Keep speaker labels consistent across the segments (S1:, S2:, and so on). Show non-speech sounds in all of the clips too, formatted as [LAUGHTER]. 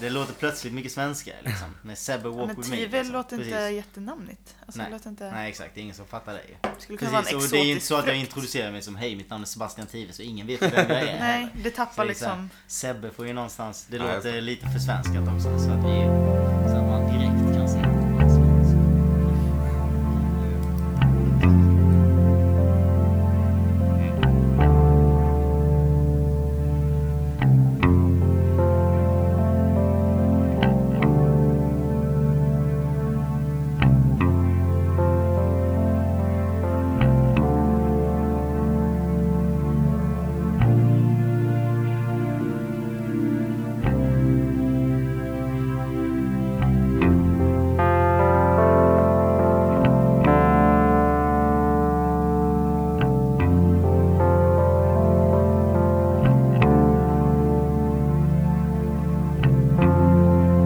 S1: Det låter plötsligt mycket svenska liksom.
S2: [LAUGHS]
S1: Med Sebbe Walk
S3: men
S1: With Me.
S3: Tivel
S1: liksom.
S3: låter inte
S1: Precis.
S3: jättenamnigt. Alltså, det låter inte...
S1: Nej exakt, det är ingen som fattar dig.
S3: Skulle kunna vara
S1: Precis,
S3: en
S1: och
S3: exotisk
S1: det är ju inte så att jag
S3: frukt.
S1: introducerar mig som Hej, mitt namn är Sebastian Tive, så ingen vet vem jag
S3: [LAUGHS]
S1: är.
S3: Nej, det
S1: Så
S3: tappar
S1: det är så här,
S3: liksom...
S1: Sebbe får ju någonstans, det
S2: Ja, jag
S1: låter lite försvenskat också så att, vi, så att man direkt kan se att det var svenskt.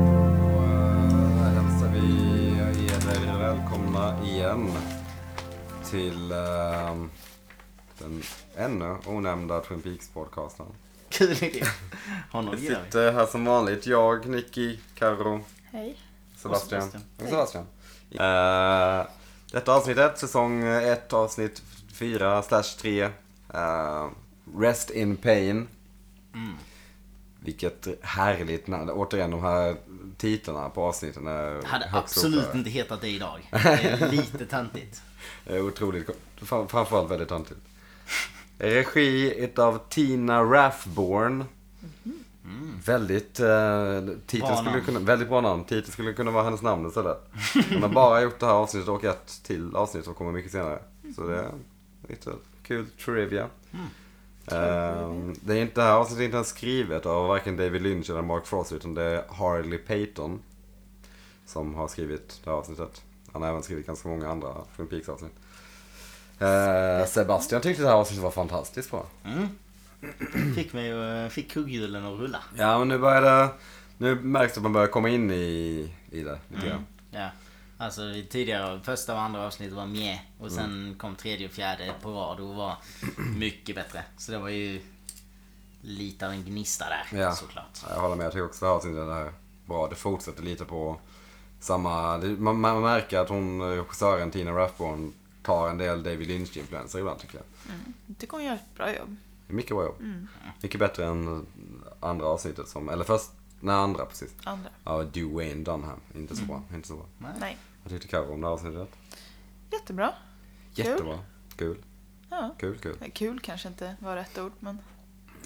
S2: Och eh, hälsar vi er välkomna igen till eh, den ännu onämnda Twin Peaks-podcasten.
S1: [LAUGHS] Kul idé. Honom
S2: Vi
S1: gillar vi.
S2: sitter här som vanligt, jag, Nicky, Karo,
S3: Hej.
S2: Sebastian.
S1: Och Sebastian.
S2: Och Sebastian. Eh, detta avsnitt 1, säsong 1, avsnitt 4 slash 3. eh, Rest in pain.
S1: Mm.
S2: Vilket härligt namn. Återigen, de här titlarna på avsnitten är
S1: Hade
S2: högst
S1: absolut
S2: oklart.
S1: inte hetat det
S2: [LAUGHS]
S1: idag. Det är lite töntigt.
S2: Eh, Otroligt kort. Fram- Framförallt väldigt töntigt. Regi utav Tina Rathborn. Väldigt, eh,
S1: Mm. Bra
S2: titeln skulle
S1: namn.
S2: kunna, väldigt bra namn. Titeln skulle kunna vara hennes namn istället. Hon har bara gjort det här avsnittet och ett till avsnitt som kommer mycket senare. Så det är lite kul trivia. Ehm, det, är inte, det här avsnittet är inte ens skrivet av varken David Lynch eller Mark Frost utan det är Harley Payton som har skrivit det här avsnittet. Han har även skrivit ganska många andra Twin Peaks avsnitt. Eh, Sebastian tyckte det här avsnittet var fantastiskt bra.
S1: Mm. Fick, mig, eh, fick kugghjulen att rulla.
S2: Ja men nu börjar det, nu märks det att man börjar komma in i, i det lite grann.
S1: Ja. Alltså det tidigare, första och andra avsnittet var mjä och sen
S2: Mm.
S1: kom tredje och fjärde på rad och
S2: [CLEARS THROAT]
S1: var mycket bättre. Så det var ju lite av en gnista där
S2: Ja.
S1: såklart.
S2: Jag håller med, jag tycker också det här avsnittet är bra. Det fortsätter lite på samma, det, man, man märker att hon, regissören Tina Rathborn tar en del David Lynch-influenser ibland tycker jag.
S3: Jag tycker hon gör ett bra jobb.
S2: Det är mycket bra jobb. Mycket bättre än andra avsnittet som, eller först, nej andra precis.
S3: Andra.
S2: Av Dwayne Dunham. Inte så bra, inte så bra.
S3: Nej.
S2: Vad tyckte Carro om det här avsnittet?
S3: Jättebra. Kul.
S2: Jättebra. Kul,
S3: Ja.
S2: kul, kul.
S3: Kul kanske inte var rätt ord, men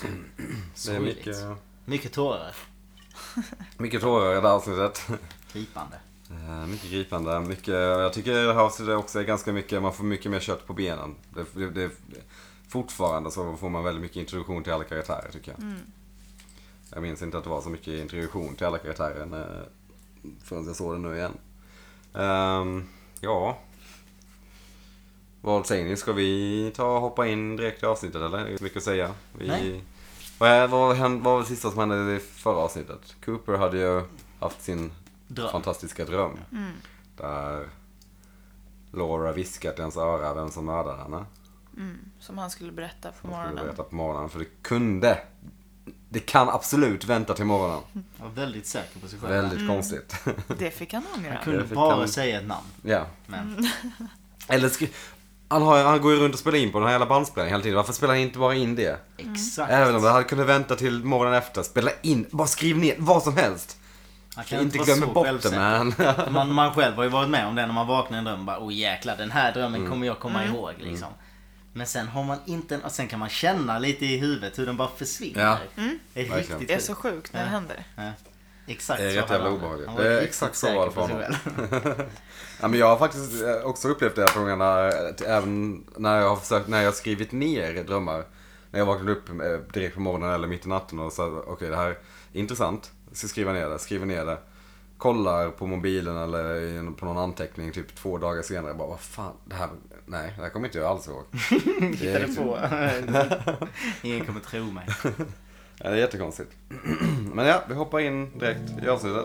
S2: Det är
S1: Sorgligt.
S2: mycket,
S1: Mycket tårar.
S2: mycket tårar i det här avsnittet.
S1: Gripande.
S2: Eh, Mycket gripande. Mycket, jag tycker det här avsnittet också är ganska mycket, man får mycket mer kött på benen. Det, det, det, fortfarande så får man väldigt mycket introduktion till alla karaktärer tycker jag. Jag minns inte att det var så mycket introduktion till alla karaktärer när, förrän jag såg det nu igen. Ehm, ja. Vad säger ni? Ska vi ta och hoppa in direkt i avsnittet eller? Är det mycket att säga? Vi,
S1: Nej.
S2: Vad, är- vad, hände, vad var det sista som hände i förra avsnittet? Cooper hade ju haft sin
S1: Dröm. Mm.
S2: fantastiska dröm. Där Laura viskat i hans öra vem som mördade henne.
S3: som han skulle berätta på
S2: Hon skulle
S3: morgonen.
S2: berätta på morgonen. För det kunde. Det kan absolut vänta till morgonen. Mm.
S1: Jag var väldigt säker på sig själv.
S2: Väldigt konstigt.
S3: Det fick han ångra.
S1: Kunde
S2: Jag fick
S1: bara
S2: en-
S1: säga ett namn.
S2: [LAUGHS] ja.
S1: Men
S2: Eller skri- han, har, han går ju runt och spelar in på den här jävla bandspelningen hela tiden. Varför spelar han inte bara in det?
S1: exakt.
S2: Även om det hade kunnat vänta till morgonen efter. Spela in, bara skriv ner vad som helst.
S1: Han kan
S2: Inte
S1: vara
S2: glömma
S1: så
S2: bort det
S1: självsäker. [LAUGHS]
S2: man.
S1: Man, man själv har ju varit med om det när man vaknar i en dröm. Bara, oh jäklar, den här drömmen
S2: Mm.
S1: kommer jag komma
S3: Mm.
S1: ihåg. Liksom. Men sen har man inte en, och sen kan man känna lite i huvudet hur den bara försvinner.
S2: Ja.
S1: Det är
S2: Verkligen.
S1: riktigt
S3: Mm. Det är
S1: sjukt.
S3: så sjukt när det
S1: Ja.
S3: händer.
S1: Ja. Exakt
S2: Det är
S1: så
S2: rätt
S1: hade
S2: jävla
S1: han
S2: obehagligt.
S1: Han var
S2: Det är
S1: riktigt
S2: exakt så var det för
S1: säker på sig själv. [LAUGHS]
S2: Ja, men jag har faktiskt eh, också upplevt det här frågan när, att även när jag har försökt, när jag har skrivit ner drömmar. När jag vaknade upp eh, direkt på morgonen eller mitt i natten och sa okej det här är intressant. Jag ska skriva ner det, skriver ner det. Kollar på mobilen eller i- på någon anteckning typ två dagar senare. Bara vad fan, det här, nej det här kommer inte jag alls ihåg. det, är,
S1: Hittade
S2: riktigt-
S1: på. Ingen kommer tro
S2: [LAUGHS]
S1: mig.
S2: ja, det är jättekonstigt. [CLEARS THROAT] men ja, vi hoppar in direkt i avsnittet.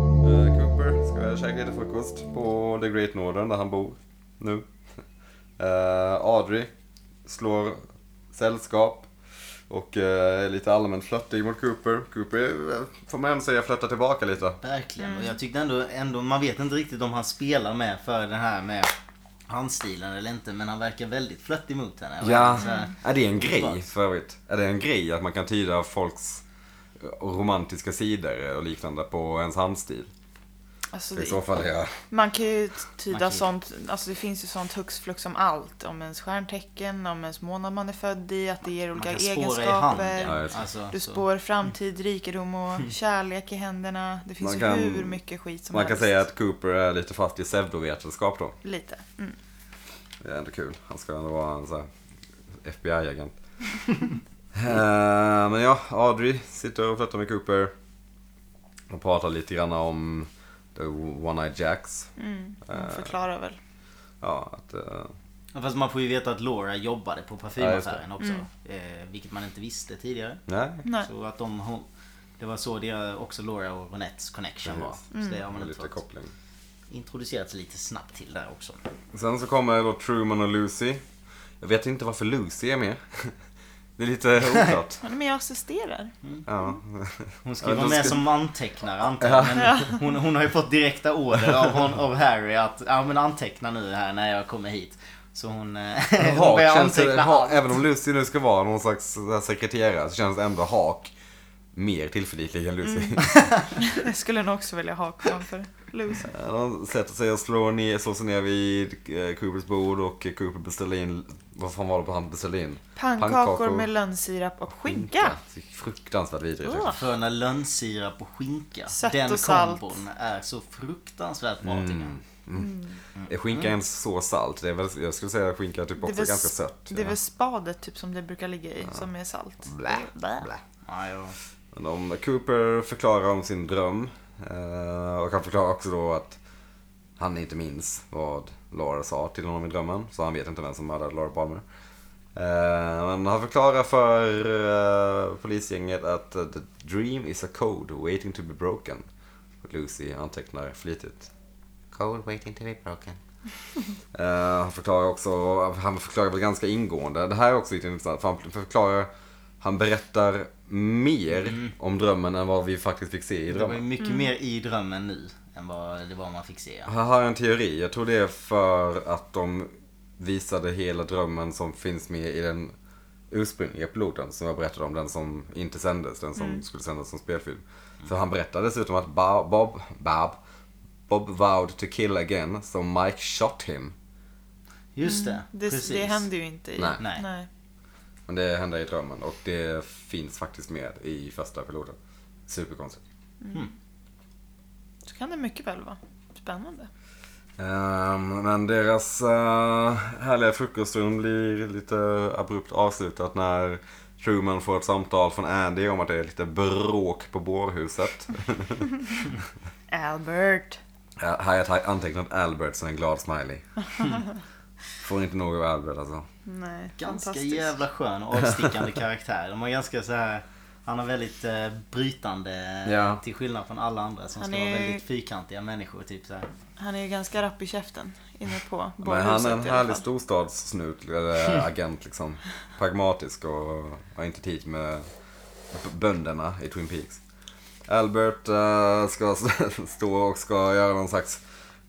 S2: eh, käkade lite frukost på The Great Northern där han bor nu. [LAUGHS] Eh, Audrey slår sällskap och eh, är lite allmänt flörtig mot Cooper. Cooper eh, får man ändå säga flörtar tillbaka lite.
S1: Verkligen.
S3: Mm.
S1: Och jag tyckte ändå, ändå, man vet inte riktigt om han spelar med för den här med handstilen eller inte. Men han verkar väldigt flörtig mot henne. Och
S2: Ja,
S1: så här,
S2: är det en grej för övrigt? Är det en grej att man kan tyda folks eh, romantiska sidor och liknande på ens handstil?
S3: Alltså,
S2: I så
S3: det,
S2: fall är jag...
S3: man kan ju tyda
S1: Man kan ju-
S3: sånt, alltså det finns ju sånt hux flux om allt. Om ens stjärntecken, om ens månad man är född i, att det ger
S1: Man
S3: olika
S1: kan spåra i
S3: egenskaper.
S2: Ja,
S1: handen.
S2: just det.
S1: Alltså, Mm.
S3: Du
S1: så-
S3: spår framtid, rikedom och kärlek i händerna. Det finns
S2: Man
S3: ju
S2: kan-
S3: hur mycket skit som
S2: Man kan
S3: helst.
S2: säga att Cooper är lite fast i pseudovetenskap då.
S3: Lite. Mm.
S2: Det är ändå kul. Han ska ändå vara en sån här FBI-agent. [LAUGHS] Eh, men ja, Audrey sitter och flörtar med Cooper. Och pratar lite grann om The One-Eye Jacks.
S3: Mm.
S2: Eh.
S3: Man förklarar väl.
S2: Ja, att, eh,
S1: Ja, Fast man får ju veta att Laura jobbade på parfymaffären också.
S3: Mm.
S1: Eh, vilket man inte visste tidigare.
S2: nej.
S3: Nej.
S1: Så att de, hon, det var så det också Laura och Ronettes connection var.
S2: Precis.
S1: Så
S3: Mm.
S1: det har man inte
S2: Lite
S1: fått
S2: koppling.
S1: introducerats lite snabbt till där också.
S2: Sen så kommer då Truman och Lucy. Jag vet inte varför Lucy är med. [LAUGHS] Det är lite oklart.
S1: [LAUGHS]
S3: Hon är med och assisterar.
S1: Mm.
S2: Ja.
S1: Hon ska
S2: Ja,
S1: ju vara
S2: de
S1: med
S2: ska-
S1: som antecknare antagligen. Men hon, hon har ju fått direkta order av, hon, av Harry att ja, men anteckna nu här när jag kommer hit. Så hon, eh, hon
S2: Hak
S1: börjar
S2: känns,
S1: anteckna
S2: ha,
S1: allt.
S2: även om Lucy nu ska vara någon slags så här sekreterare så känns ändå Hak mer tillförlitlig än Lucy.
S1: Mm.
S3: Jag skulle nog också välja ha framför Lucy.
S2: De sätter sig och slår, ner, slår sig ner vid eh, Coopers bord och Cooper beställer in, vad fan var det på han beställde in?
S3: Pannkakor med lönnsirap och skinka.
S2: Fruktansvärt vidrigt.
S3: Åh.
S1: För när lönnsirap och skinka,
S3: Sött
S1: den
S3: och salt.
S1: kombon är så fruktansvärt
S2: Mm.
S1: bra tycker jag.
S2: Är skinka ens så salt? Det är väl, jag skulle säga att skinka är typ också
S3: väl
S2: ganska
S3: s-
S2: sött.
S3: Mm. Det är
S2: ja.
S3: väl spadet typ som det brukar ligga i, som är salt.
S2: Blä,
S3: Blä.
S2: blä.
S1: Ja, jag-
S2: Men om Cooper förklarar om sin dröm eh, och han förklarar också då att han inte minns vad Laura sa till honom i drömmen. Så han vet inte vem som mördade Laura Palmer. Eh, Men han förklarar för eh, polisgänget att eh, the dream is a code waiting to be broken. Och Lucy antecknar flitigt. Code waiting to be broken. [LAUGHS] Eh, han förklarar också, han förklarar väl ganska ingående. Det här är också lite intressant. För han förklarar, han berättar mer om drömmen än vad vi faktiskt fick se
S1: Det
S2: i
S1: var ju
S2: drömmen.
S3: Mm.
S1: mycket mer i drömmen nu än vad det var man fick se.
S2: Här har jag en teori. Jag tror det är för att de visade hela drömmen som finns med i den ursprungliga piloten som jag berättade om. Den som inte sändes. Den som skulle sändas som spelfilm. För han berättade dessutom att Ba- Bob, Bob, Bob vowed to kill again. So Mike shot him.
S1: Just det,
S3: Mm. Det,
S1: precis.
S3: det händer ju inte i...
S2: Nej.
S1: Nej.
S2: Men det hände i drömmen och det finns faktiskt med i första piloten. Superkonstigt.
S3: Så kan det mycket väl vara. Spännande.
S2: Ehm, men deras eh, härliga frukoststund blir lite abrupt avslutat när Truman får ett samtal från Andy om att det är lite bråk på bårhuset.
S3: Albert.
S2: Ja, Här har jag antecknat Albert som en glad smiley. Får inte nog av Albert alltså.
S3: Nej,
S1: Ganska
S3: fantastiskt.
S1: jävla skön och avstickande karaktär. De har ganska så här... Han är väldigt eh, brytande eh,
S2: Ja.
S1: till skillnad från alla andra som
S3: Han
S1: ska vara
S3: är-
S1: väldigt fyrkantiga människor. Typ så här.
S3: Han är ju ganska rapp i käften inne på
S2: Men han är en
S3: bårhuset i alla
S2: härlig
S3: fall.
S2: storstadssnut,
S3: [LAUGHS]
S2: eller agent liksom. Pragmatisk och har inte tid med b- bönderna i Twin Peaks. Albert eh, ska [LAUGHS] s- stå och ska göra någon slags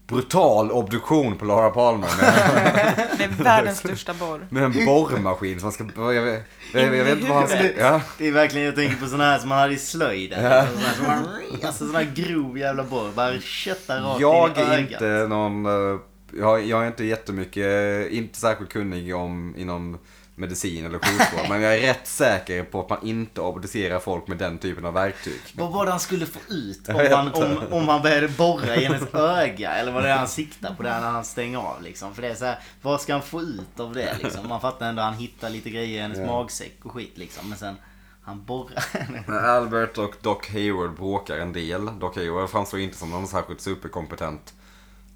S2: brutal obduktion på Laura Palmer med, [LAUGHS]
S3: Det är världens största borr.
S2: med en borrmaskin. Så man ska, jag, vet- jag, vet- jag vet inte vad han ska... Ja.
S1: Det är verkligen, jag tänker på sådana här som man hade i slöjden. Alltså, sån här som man- Alltså sån här grov jävla borr. Bara köttar rakt
S2: Jag
S1: in i
S2: är
S1: ögat.
S2: inte någon... eh, Jag, jag är inte jättemycket, inte särskilt kunnig om inom medicin eller sjukvård. men jag är rätt säker på att man inte obducerar folk med den typen av verktyg.
S1: Vad var det han skulle få ut om
S2: vet
S1: han,
S2: inte.
S1: om, om han började borra i hennes öga? Eller vad det är han siktar på där när han stänger av liksom. För det är så här, vad ska han få ut av det liksom? Man fattar ändå att han hittar lite grejer i hennes magsäck och skit liksom. Men sen, han borrar henne.
S2: Men Albert och Doc Hayward bråkar en del. Doc Hayward framstår inte som någon särskilt superkompetent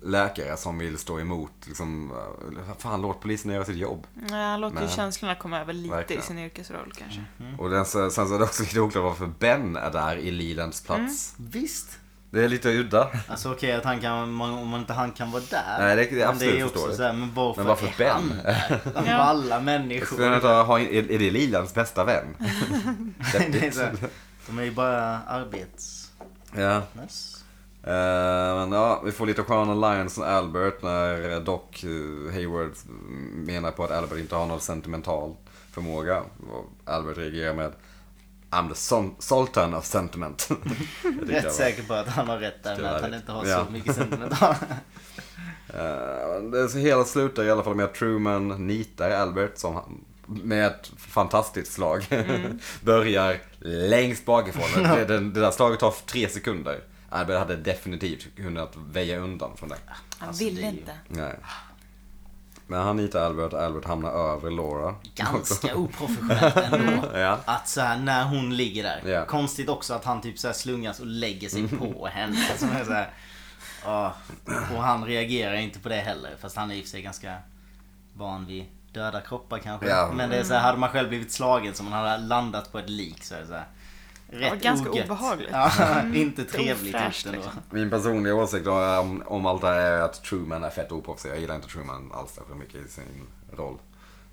S2: läkare som vill stå emot liksom, eh, fan låt polisen göra sitt jobb.
S3: Nej, han låter ju
S2: Nej.
S3: känslorna komma över lite
S2: Verkligen.
S3: i
S2: Mm.
S3: sin yrkesroll kanske.
S2: Och den, sen så är det också lite oklart varför Ben är där i Lilands plats.
S1: Visst?
S2: Det är lite udda.
S1: Alltså okej att han kan, man- om man inte han kan vara där.
S2: Nej, det- det är
S1: Men
S2: absolut
S1: ju också
S2: förståeligt.
S1: så här, men varför,
S2: Men varför
S1: är han
S2: Ben? [LAUGHS]
S1: där? Av
S3: Ja.
S1: alla
S2: Skulle
S1: [LAUGHS]
S2: han
S1: människor.
S2: inte ha, är, är det Lilans bästa vän?
S1: det är så
S2: [LAUGHS]
S1: här, de är ju bara arbetsnäs.
S2: ja. Eh, men ja, vi får lite Sean Alliance och Albert när Doc eh, Hayward menar på att Albert inte har någon sentimental förmåga. Och Albert reagerar med I'm the son- sultan of sentiment. [LAUGHS] Jag tyckte det var- Eh,
S1: Rätt säker på att han har rätt där
S2: Skulle
S1: med att
S2: vara
S1: han inte
S2: rätt.
S1: har
S2: Ja.
S1: så mycket [LAUGHS] sentimental.
S2: Eh, det så hela slutar i alla fall med att Truman nitar Albert som han, med ett fantastiskt slag. [LAUGHS] Börjar längst bakifrån. Det, det, det där slaget tar tre sekunder. Albert hade definitivt kunnat väja undan från det.
S3: Han
S1: Alltså, det
S3: ville
S1: är ju-
S3: inte.
S2: Nej. Men han nitar Albert och Albert hamnar över Laura.
S1: Ganska oprofessionellt
S2: [LAUGHS]
S1: ändå.
S2: Ja.
S1: Att så här, när hon ligger där.
S2: Ja. Mm.
S1: Konstigt också att han typ så här slungas och lägger sig på
S2: [LAUGHS]
S1: henne. Som är så här, ja. och han reagerar inte på det heller. Fast han är i och för sig ganska van vid döda kroppar kanske.
S2: Ja.
S1: Men det är så
S3: Mm.
S1: här, hade man själv blivit slagen som man hade landat på ett lik så är det så här. Rätt
S3: Ja, ganska
S1: ogött.
S3: obehagligt.
S1: Ja, [LAUGHS]
S2: Mm.
S1: inte trevligt
S3: ofräscht,
S1: just ändå.
S3: liksom.
S2: Min personliga åsikt eh, om, om allt det här är att Truman är fett oproffsig. Jag gillar inte Truman alls för mycket i sin roll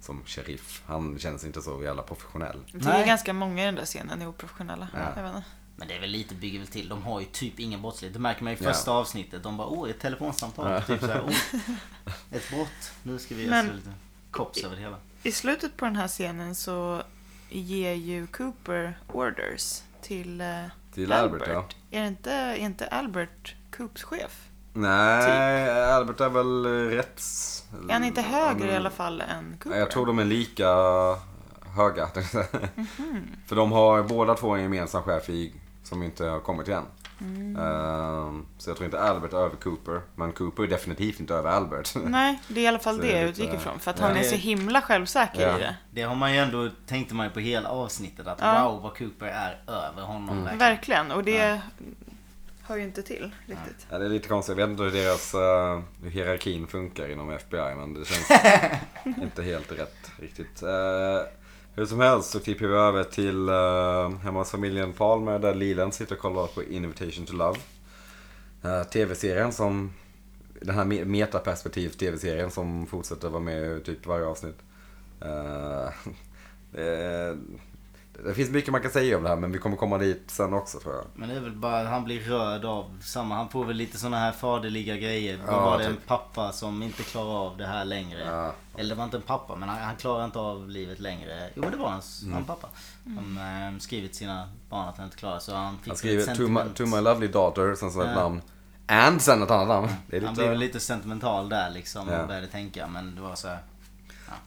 S2: som sheriff. Han känns inte så jävla professionell.
S3: Jag tycker
S1: Nej.
S3: ganska många i den där scenen är oprofessionella.
S2: Ja.
S3: Jag vet inte.
S1: Men det är väl lite bygger väl till. De har ju typ ingen brottslighet. Det märker man i
S2: Ja.
S1: första avsnittet. De bara åh, ett telefonsamtal. Typ så här, åh,
S2: [LAUGHS]
S1: ett brott. Nu ska vi
S3: Men-
S1: göra så lite kops över det hela.
S3: I slutet på den här scenen så ger ju Cooper orders till, eh,
S2: Till Albert,
S3: Är det inte, är inte Albert Coops chef?
S2: Nej, Albert är väl rätts...
S3: Typ. Är han inte högre i alla fall än Cooper?
S2: Jag tror de är lika höga. [LAUGHS] För de har båda två en gemensam chef i, som inte har kommit igen. Ehm, så jag tror inte Albert är över Cooper. Men Cooper är definitivt inte över Albert. [LAUGHS]
S3: Nej, det är i alla fall
S2: Så
S3: det
S2: det är
S3: jag
S2: lite-
S3: utgick ifrån. För att
S1: Ja.
S3: han är så himla självsäker
S2: Ja.
S3: i det.
S1: Det har man ju ändå, tänkte man ju på hela avsnittet att
S3: Ja.
S1: wow vad Cooper är över honom
S2: Mm.
S1: verkligen.
S3: Verkligen, och det hör ju inte till riktigt.
S2: ja, det är lite konstigt. Jag vet inte hur deras eh, hur hierarkin funkar inom FBI. Men det känns inte helt rätt riktigt. Eh, hur som helst så klipper vi över till uh, hemma hos familjen Palmer där Leland sitter och kollar på Invitation to Love. Eh, TV-serien som, den här me- metaperspektiv TV-serien som fortsätter vara med i typ varje avsnitt. Eh, [LAUGHS] det, det finns mycket man kan säga om det här men vi kommer komma dit sen också tror jag.
S1: Men det är väl bara att han blir rörd av samma. Han får väl lite såna här faderliga grejer.
S2: Ja,
S1: Ja, var det en
S2: typ.
S1: pappa som inte klarar av det här längre.
S2: Ja.
S1: Eller det var inte en pappa men han, han klarar inte av livet längre. Jo men det var hans,
S2: Mm.
S1: han pappa.
S3: Mm.
S1: Som eh, skrivit sina barn att han inte klarar så han fick
S2: Han
S1: ett
S2: skriver to my,
S1: sentiment.
S2: to my lovely daughter, sen så ett
S1: Ja.
S2: namn. And sen ett annat namn. Det är
S1: Han blev
S2: lite...
S1: väl lite sentimental där liksom
S2: Ja.
S1: och började tänka men det var så här,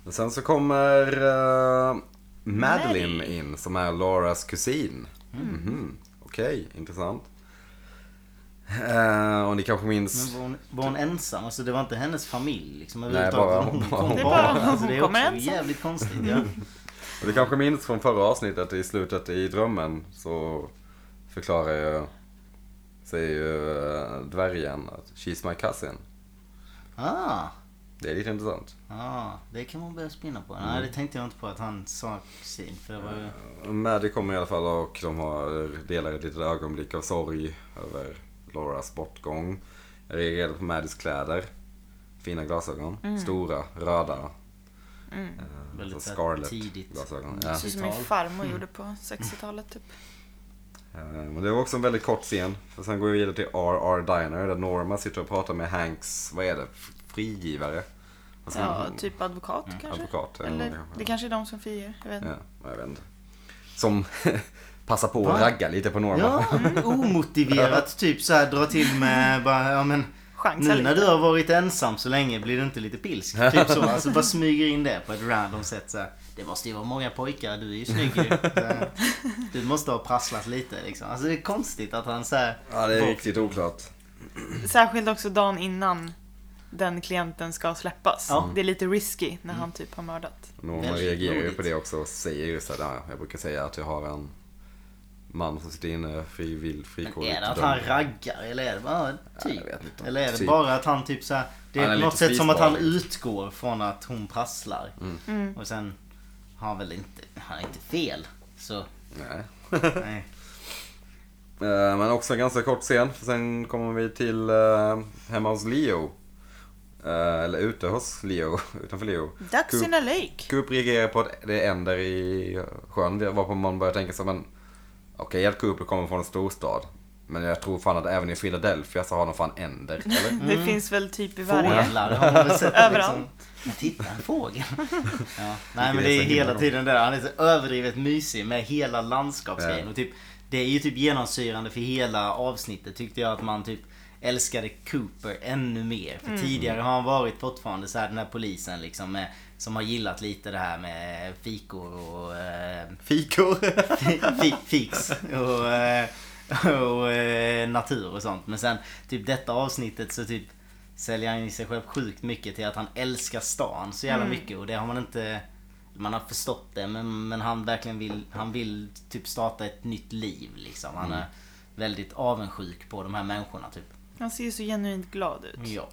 S2: Men Sen så kommer eh, Madeline
S3: Maddie.
S2: in som är Lauras kusin.
S1: Mm.
S2: Mhm. Okej, intressant. Eh, och ni kanske
S1: Men
S2: minns...
S1: var hon, var hon ensam? Alltså det var inte hennes familj liksom
S2: bara
S1: överhuvudtaget.
S2: hon-
S1: hon
S2: bara
S1: kom
S2: hon.
S3: Det är
S1: bara.
S3: bara hon
S1: Alltså, det är också
S3: kommer ensam.
S1: jävligt konstigt.
S2: [LAUGHS]
S1: Ja.
S2: och Ni kanske minns från förra avsnittet i slutet i drömmen så förklarar jag säger ju eh, dvärgen att she's my cousin.
S1: Ah,
S2: Det är lite intressant.
S1: ah, det kan man börja spinna på.
S2: Mm.
S1: Nej, det tänkte jag inte på att han sa sin. För det var ju...
S2: Maddie kommer i alla fall och de har delar ett litet ögonblick av sorg över Lauras bortgång. Jag reagerade på Maddies kläder. Fina glasögon. Stora, röda. Eh,
S1: Väldigt
S2: så
S1: så här
S2: scarlet
S1: tidigt.
S2: glasögon. Ja.
S3: Mm. Precis Mm. som min farmor gjorde på 60-talet typ.
S2: Eh, Men det var också en väldigt kort scen. För sen går vi vidare till RR Diner där Norma sitter och pratar med Hanks, vad är det, F- frigivare? Vad ska
S3: Ja,
S2: man-
S3: typ advokat kanske.
S2: Mm. advokat, eller
S3: Eller,
S2: någonting.
S3: det kanske är de som friar. Jag vet inte.
S2: Ja, jag vet inte. Som [LAUGHS] passar på
S1: Va?
S2: att ragga lite på Norma.
S1: Ja, mm, omotiverat typ så här dra till med bara, ja men
S3: Chansa
S1: nu
S3: lite.
S1: när du har varit ensam så länge blir du inte lite pilsk? Typ så, alltså bara smyger in det på ett random sätt så här. Det måste ju vara många pojkar, du är ju snygg ju. Så här, Du måste ha prasslat lite liksom. Alltså det är konstigt att han så här,
S2: Ja, det är riktigt oklart.
S3: Särskilt också dagen innan den klienten ska släppas.
S1: Ja.
S3: Det är lite risky när han typ har mördat.
S2: Norma
S1: Väldigt
S2: reagerar ju
S1: blodigt.
S2: på det också och säger ju såhär, jag brukar säga att jag har en man som sitter inne frivill,
S1: Men
S2: frikårig.
S1: är det att han raggar eller är det bara typ?
S2: jag vet inte.
S1: Eller är det
S2: Typ.
S1: bara att han typ så här, Det
S2: Han är
S1: är på något
S2: lite
S1: sätt som att han
S2: spisbar,
S1: utgår från att hon prasslar.
S2: Mm.
S1: Och sen har han väl inte, han har inte fel. Så
S2: Nej.
S1: nej.
S2: [LAUGHS] Eh, Men också en ganska kort scen. För sen kommer vi till eh, hemma hos Leo. Eh, Eller ute hos Leo, [LAUGHS] utanför Leo.
S3: Ducks
S2: Coop-
S3: in a lake.
S2: Coop reagerar på att det änder i sjön. Det var på man börjar tänka så men okej att Coop kommer från en storstad. Men jag tror fan att även i Philadelphia så har de fan änder.
S3: [LAUGHS]
S2: Eller?
S3: Det finns väl typ i varje.
S1: Fåglar har man väl sett
S3: Överallt.
S1: liksom. Men titta, en
S3: [LAUGHS]
S1: fågel. Ja. Nej men
S2: är
S1: det är
S2: så himla
S1: hela
S2: bra.
S1: tiden där. Han är så överdrivet mysig med hela landskapsgrejen. Och typ, det är ju typ genomsyrande för hela avsnittet tyckte jag att man typ älskade Cooper ännu mer.
S3: Mm.
S1: För tidigare har han varit fortfarande så här den här polisen liksom med, som har gillat lite det här med fikor och eh,
S2: Fikor!
S1: fi- fix och, eh, och eh, natur och sånt. Men sen typ detta avsnittet så typ säljer han ju sig själv sjukt mycket till att han älskar stan så jävla mycket och det har man inte man har förstått det men, men han verkligen vill, han vill typ starta ett nytt liv liksom. Han är väldigt avundsjuk på de här människorna typ.
S3: Han ser ju så genuint glad ut.
S1: Ja.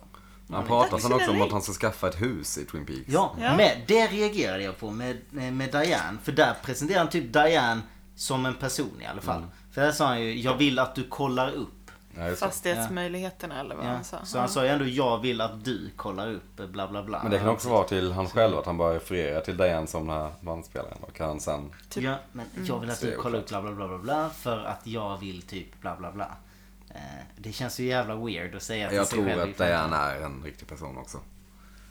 S2: Han pratar
S3: Tack
S2: sen
S3: för
S2: också om
S3: den.
S2: att han ska skaffa ett hus i Twin Peaks.
S1: Ja,
S3: Ja.
S1: Men det reagerade jag på med, med Diane. För där presenterar han typ Diane som en person i alla fall. För där sa han ju, jag vill att du kollar upp.
S2: Ja, just det.
S3: Fastighetsmöjligheterna eller vad han sa.
S1: Så han sa ju ändå, jag vill att du kollar upp bla bla bla.
S2: Men det kan också vara till han själv att han bara refererar till Diane som den här bandspelaren. Och han sen...
S3: typ-
S1: Ja, men jag vill att
S2: Så är
S1: du
S2: det
S1: kollar upp bla bla bla bla bla för att jag vill typ bla bla bla. Eh, Det känns ju jävla weird att säga till
S2: Jag
S1: sig
S2: tror
S1: själv i
S2: att
S1: framtiden.
S2: Diane är en riktig person också.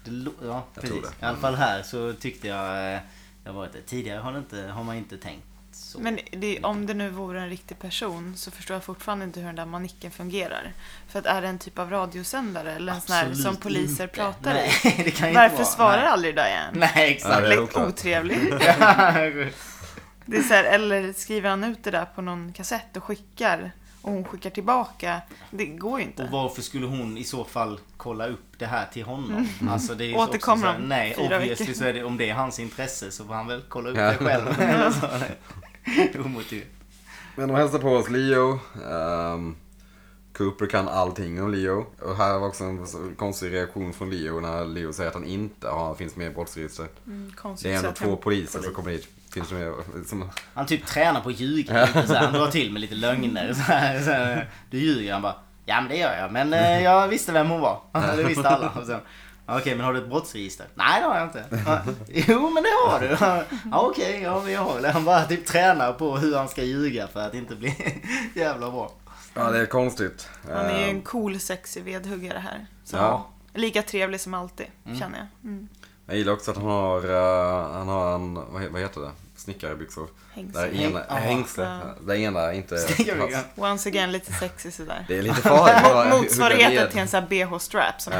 S1: Det lo- ja,
S2: Jag
S1: precis.
S2: tror
S1: I
S2: det.
S1: alla fall här så tyckte jag... eh, Jag var inte, tidigare har, det inte, har man inte tänkt så.
S3: Men det, om det nu vore en riktig person så förstår jag fortfarande inte hur den där manicken fungerar. För att är det en typ av radiosändare eller en sån här som
S1: Absolut
S3: poliser
S1: inte.
S3: pratar i?
S1: Nej, [LAUGHS] det kan ju inte
S3: Varför
S1: vara.
S3: svarar
S1: Nej.
S3: aldrig Diane?
S1: Nej,
S2: Ja,
S1: exakt.
S2: det är
S3: Lätt
S2: oklart.
S3: otrevlig.
S1: [LAUGHS]
S3: Det är så här, eller skriver han ut det där på någon kassett och skickar och hon skickar tillbaka. Det går ju
S1: Och
S3: inte.
S1: varför skulle hon i så fall kolla upp det här till honom? Alltså det är ju
S3: Mm. Återkommer
S1: också så här,
S3: om
S1: Nej,
S3: fyra
S1: obviously
S3: veckor.
S1: så är det, om det är hans intresse så får han väl kolla upp
S2: Ja.
S1: det
S3: [LAUGHS]
S1: själv. Eller så, nej. [LAUGHS] Omotiverat.
S2: Men de hälsar på oss Leo. ehm, Cooper kan allting om Leo. Och här var också en så- konstig reaktion från Leo när Leo säger att han inte har, finns med i brottsregistret.
S3: Mm, konstigt
S2: Det är ändå
S3: så att han-
S2: två poliser som kommer dit. Finns det med, som,
S1: Han typ tränar på att ljuga lite så här. Han drar till med lite lögner. Så här, så här. Du ljuger. Han bara. Ja men det gör jag. Men eh, jag visste vem hon var. [LAUGHS] Det visste alla. Och sen, "Ja, Okej men har du ett brottsregister? Nej det har jag inte. "Ja, Jo men det har du. Ja, Okej, ja men jag har väl det." Han bara typ tränar på hur han ska ljuga för att inte bli [LAUGHS] jävla bra.
S2: ja, det är konstigt.
S3: Han är ju
S2: Ehm,
S3: en cool sexig vedhuggare här. Så
S2: Ja.
S3: Lika trevlig som alltid känner jag. Mm.
S2: Jag gillar också att han har, eh, han har en, vad he- vad heter det? Snickarbyxor.
S3: Hängsel.
S2: Där ena,
S1: Häng-
S2: hängsle. Där ena inte...
S1: Snickarbyxor.
S3: Once again lite sexig sådär.
S2: Det är
S3: [LAUGHS]
S2: lite farligt. bara hugga
S3: Motsvarigheten
S2: ned.
S3: till en sån här bh-strap som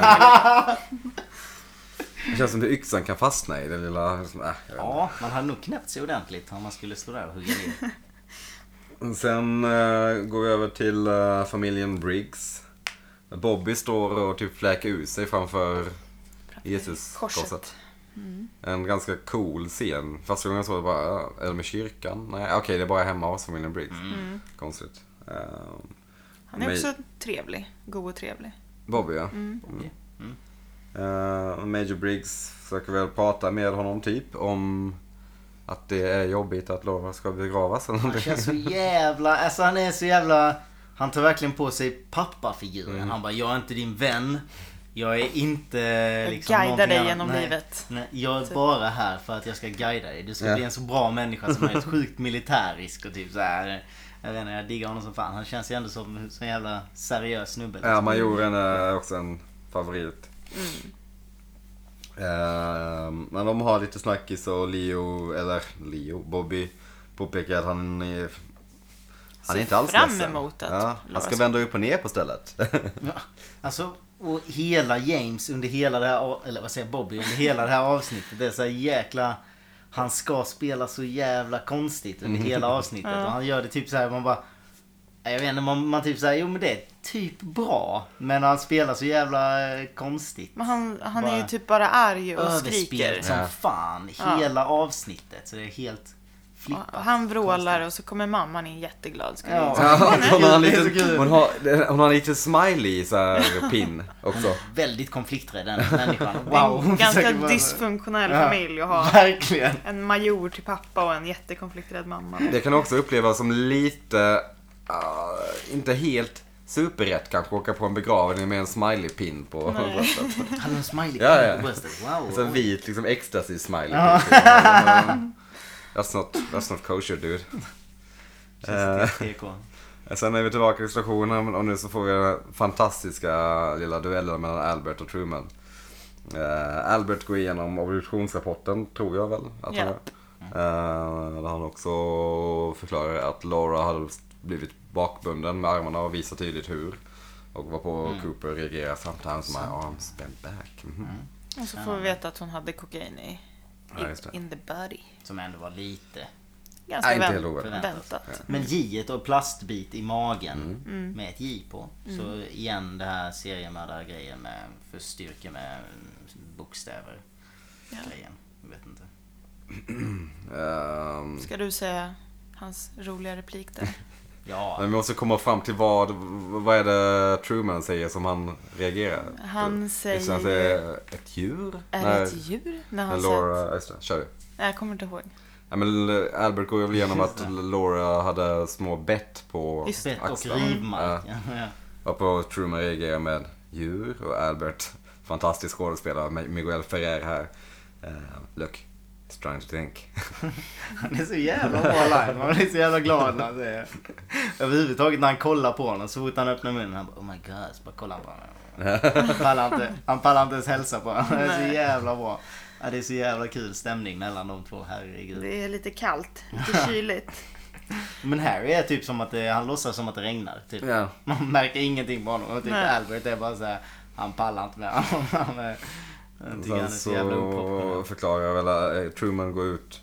S2: Det känns som att yxan kan fastna i den lilla... Liksom, äh, jag vet
S1: Ja, man hade nog knäppt sig ordentligt om man skulle stå där och hugga
S3: [LAUGHS]
S1: ner.
S2: Sen eh, går vi över till eh, familjen Briggs. Bobby står och typ fläker ut sig framför
S3: Korset. Mm.
S2: Jesus-korset. En ganska cool scen. Första gången jag såg det bara, ja, är de i kyrkan? Nej, okej det är bara hemma hos familjen Briggs.
S3: Mm.
S2: Konstigt. Ehm,
S3: Han är
S2: Men-
S3: också trevlig. God och trevlig.
S2: Bobby ja.
S1: Okej. Mm.
S2: Eh, Major Briggs försöker väl prata med honom typ om att det är jobbigt att Laura ska begravas eller
S1: Han
S2: någonting.
S1: känns så jävla, alltså han är så jävla Han tar verkligen på sig pappafiguren.
S3: Mm.
S1: Han bara, jag är inte din vän. Jag är inte liksom
S3: guidar
S1: någonting
S3: dig
S1: annat."
S3: genom
S1: Nej.
S3: livet. Typ.
S1: Nej, jag är bara här för att jag ska guida dig. Du ska
S2: Ja.
S1: bli en så bra människa som
S3: [LAUGHS]
S1: möjligt. Sjukt militärisk och typ så här. Jag vet inte, jag diggar honom som fan. Han känns ju ändå som som en jävla seriös snubbe.
S2: [LAUGHS] Ja, majoren är också en favorit.
S3: Mm.
S2: Ehm, men de har lite snackis och Leo, eller Leo, Bobby påpekar att han är... Han är
S3: Ser
S2: inte alls
S3: fram
S2: ledsen.
S3: emot att
S2: ja, Han
S3: Laura
S2: ska
S3: ska-
S2: vända upp och ner på stället. [LAUGHS]
S1: Ja, alltså, och hela James under hela det här, av- eller vad säger jag, Bobby, under hela det här avsnittet. Det är så här jäkla... Han ska spela så jävla konstigt
S2: Mm.
S1: under hela avsnittet. Och han gör det typ så här, man bara... Jag vet inte, man, man typ säger jo men det är typ bra. Men han spelar så jävla eh, konstigt.
S3: Men han, han är ju
S1: Bara
S3: typ bara arg och skriker.
S1: Överspelt som
S2: Ja.
S1: fan.
S3: Ja.
S1: Hela avsnittet. Så det är helt flippat.
S3: Och han vrålar och så kommer mamman in jätteglad. Ska
S1: Ja.
S3: ja.
S2: Ja,
S3: [LAUGHS]
S2: hon, har en
S1: Det är så kul.
S2: liten, hon, har, hon har en liten smiley så här, pin också.
S1: Väldigt konflikträdd
S3: [LAUGHS]
S1: den människan. Wow. hon
S3: Ganska
S1: [LAUGHS] försöker bara-
S3: dysfunktionell
S1: Ja.
S3: familj att ha
S1: Verkligen.
S3: en major till pappa och en jättekonflikträdd mamma.
S2: Det kan också upplevas som lite ah, inte helt superrätt kanske åka på en begravning med en smiley-pin på
S3: Nej.
S2: bröstet.
S1: Hade en smiley
S2: Ja, ja.
S1: på bröstet? Wow.
S2: Så en vit liksom ecstasy-smiley. That's not, that's not kosher dude.
S1: Känns det TK.
S2: Eh, Sen är vi tillbaka i stationen och nu så får vi den fantastiska lilla duellen mellan Albert och Truman. Eh, Albert går igenom obduktionsrapporten, tror jag väl att
S3: Ja.
S2: han gör. Eh, där han också förklarar att Laura hade blivit bakbunden med armarna och visar tydligt hur. Och var på Cooper reagerar sometimes my arms bent back. Mhm.
S3: Och så får vi veta att hon hade kokain i,
S2: Ja, just det.
S3: in the body.
S1: Som ändå var lite
S2: Mm.
S3: Ganska
S2: Nej, inte helt
S3: vänt,
S2: oväntat.
S3: väntat.
S1: Men J och plastbit i
S2: Mm.
S1: magen
S3: Mm.
S1: med ett J på. Så igen det här seriemördargrejen med förstyrke med bokstäver. Grejen. Jag vet inte.
S2: Ehm,
S3: Ska du säga hans roliga replik där?
S1: Ja,
S2: men vi måste komma fram till vad, vad är det Truman säger som han reagerar?
S3: Han
S2: Just det,
S3: säger
S2: att det är ett djur?
S3: Är
S2: Nej.
S3: det ett djur? När
S2: Men
S3: han sa...
S2: Laura, just det, kör du.
S3: Nej, jag kommer inte ihåg.
S2: Ja, men L- Albert går ju väl igenom
S1: Just
S2: att Laura hade små bett på
S3: Just
S1: bett och
S2: axlarna.
S1: rivmark.
S2: Ja,
S1: [LAUGHS] Ja.
S2: varpå Truman reagerar med djur och Albert, fantastisk skådespelare, Mi- Miguel Ferrer här. eh, look, he's trying to think.
S1: Han är så jävla bra line. Man blir så jävla glad när han säger Överhuvudtaget när han kollar på honom. Så fort han öppnar munnen. Han bara oh my god. Så bara kollar han på honom. Han pallar inte, han pallar inte ens hälsa på honom. Det är så
S3: Nej.
S1: jävla bra. Ja, det är så jävla kul stämning mellan de två. Herregud.
S3: Det är lite kallt,
S2: [LAUGHS]
S3: lite kyligt.
S1: Men Harry är typ som att det, han låtsas som att det regnar. Typ.
S2: Ja.
S1: Man märker ingenting på honom. Och typ
S3: Nej.
S1: Albert är bara så här, han pallar inte med honom. Han, är, han tycker han är
S2: Sen
S1: så jävla
S2: så
S1: uppoppad.
S2: förklarar väl eh, Truman går ut.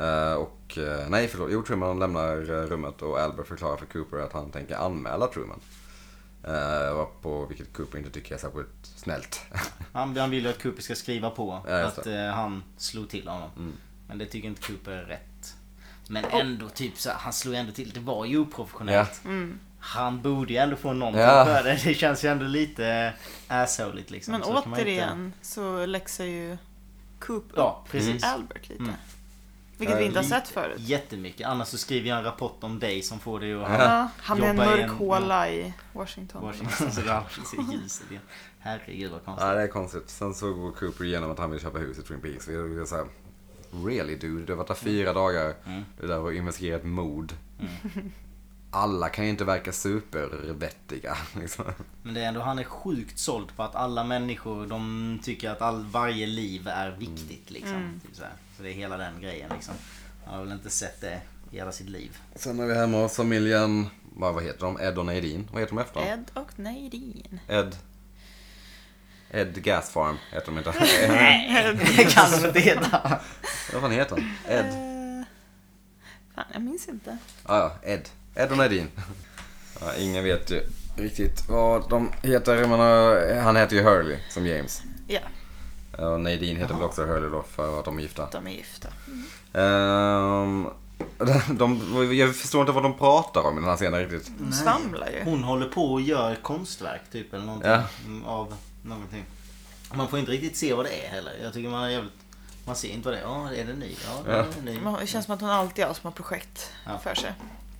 S2: eh, Och, eh, nej förlåt, jo Truman lämnar eh, rummet och Albert förklarar för Cooper att han tänker anmäla Truman. Eh, på vilket Cooper inte tycker är särskilt snällt.
S1: Han, han vill ju att Cooper ska skriva på
S2: Ja, Mm. just
S1: att eh, han slog till honom. Men det tycker inte Cooper är rätt. Men ändå typ så här, han slog ändå till. Det var ju
S2: [LAUGHS]
S1: oprofessionellt. Han borde ju ändå få någonting
S2: Ja.
S1: för det. Det känns ju ändå lite assholigt liksom.
S3: Men
S1: Så kan man ju inte-
S3: återigen så läxar ju Coop upp
S1: Ja, precis.
S3: Albert lite.
S1: Mm.
S3: Vilket vi inte har
S1: Lite-
S3: sett förut.
S1: Jättemycket. Annars så skriver jag en rapport om dig som får dig att
S3: Ja, han är en
S1: jobba i
S3: mörk håla i Washington.
S1: Washington [LAUGHS] så det ser ljuset igen. Herregud vad
S2: Ja,
S1: konstigt.
S2: det är konstigt. Sen så går Cooper igenom att han vill köpa hus i Twin Peaks. Vi är så här, really dude, du har varit där fyra dagar. Du där och investigerat mord. Alla kan ju inte verka supervettiga. [LAUGHS] Liksom.
S1: Men det är ändå, han är sjukt såld på att alla människor, de tycker att all, varje liv är viktigt liksom. Typ så, här. så det är hela den grejen liksom. Han har väl inte sett det i hela sitt liv.
S2: Sen är vi hemma hos familjen, vad, vad heter de? Ed och Nadine? Vad heter de efter?
S3: Ed och Nadine.
S2: Ed. Ed Gas Farm heter de
S1: [LAUGHS]
S2: inte.
S3: [LAUGHS]
S2: Eh,
S1: [LAUGHS] Det kan de inte heta.
S2: vad fan heter han? Ed. Ah,
S3: Eh, Fan, jag minns inte.
S2: Ja, ja, Ed. Ed och Nadine. Ja, ingen vet ju riktigt vad de heter. Men eh, han heter ju Hurley som James.
S3: Ja,
S2: Ja, Och Nadine heter väl också Hurley då för att de är gifta.
S3: de är gifta.
S2: Ehm, [LAUGHS] de, jag förstår inte vad de pratar om i den här scenen riktigt.
S3: De svamlar ju.
S1: Hon håller på och gör konstverk typ eller någonting.
S2: Ja.
S1: Mm, Av någonting. Man får inte riktigt se vad det är heller. Jag tycker man är jävligt... Man ser inte vad det är. Ja, är det ny? Ja, det är ny.
S3: Men Det känns som att hon alltid har små projekt
S1: Ja.
S3: för sig.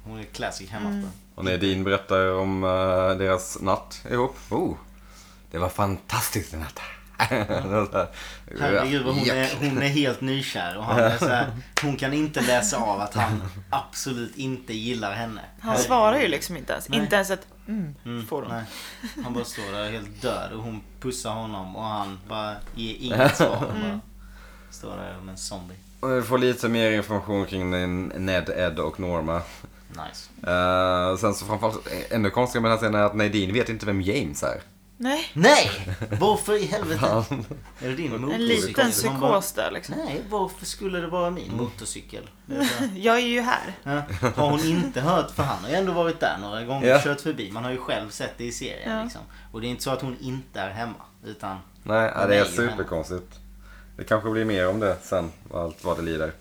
S1: Hon är classic hemmafru.
S2: Och Nadine berättar om eh, deras natt ihop. Oh, det var fantastiskt i natt.
S1: [LAUGHS] Herregud vad hon
S2: Jack.
S1: är, hon är helt nykär och han är så här, Hon kan inte läsa av att han absolut inte gillar henne.
S3: Han svarar ju liksom inte ens. Inte ens ett mm, får hon.
S1: Nej. Han bara står där helt död och hon pussar honom och han bara ger inget svar. Han bara står där som en zombie.
S2: Och Vi får lite mer information kring den- Ned, Ed och Norma.
S1: Nice.
S2: Eh, sen så framförallt, ännu konstigare med den här scenen är att Nadine vet inte vem James är.
S3: Nej,
S1: Nej! Varför i helvete? Är det din motorcykel?
S3: en liten
S1: Hon bara,
S3: psykos där liksom.
S1: Nej, varför skulle det vara min motorcykel? Det är så här,
S3: [LAUGHS] Jag är ju här.
S1: Ja, Har hon inte hört, för han har ju ändå varit där några gånger
S2: Ja.
S1: och kört förbi. Man har ju själv sett det i serien.
S3: Ja.
S1: Liksom. Och det är inte så att hon inte är hemma. Utan
S2: Nej, ja,
S1: Men
S2: det är
S1: nej, men-
S2: superkonstigt. Det kanske blir mer om det sen, vad allt vad det lider.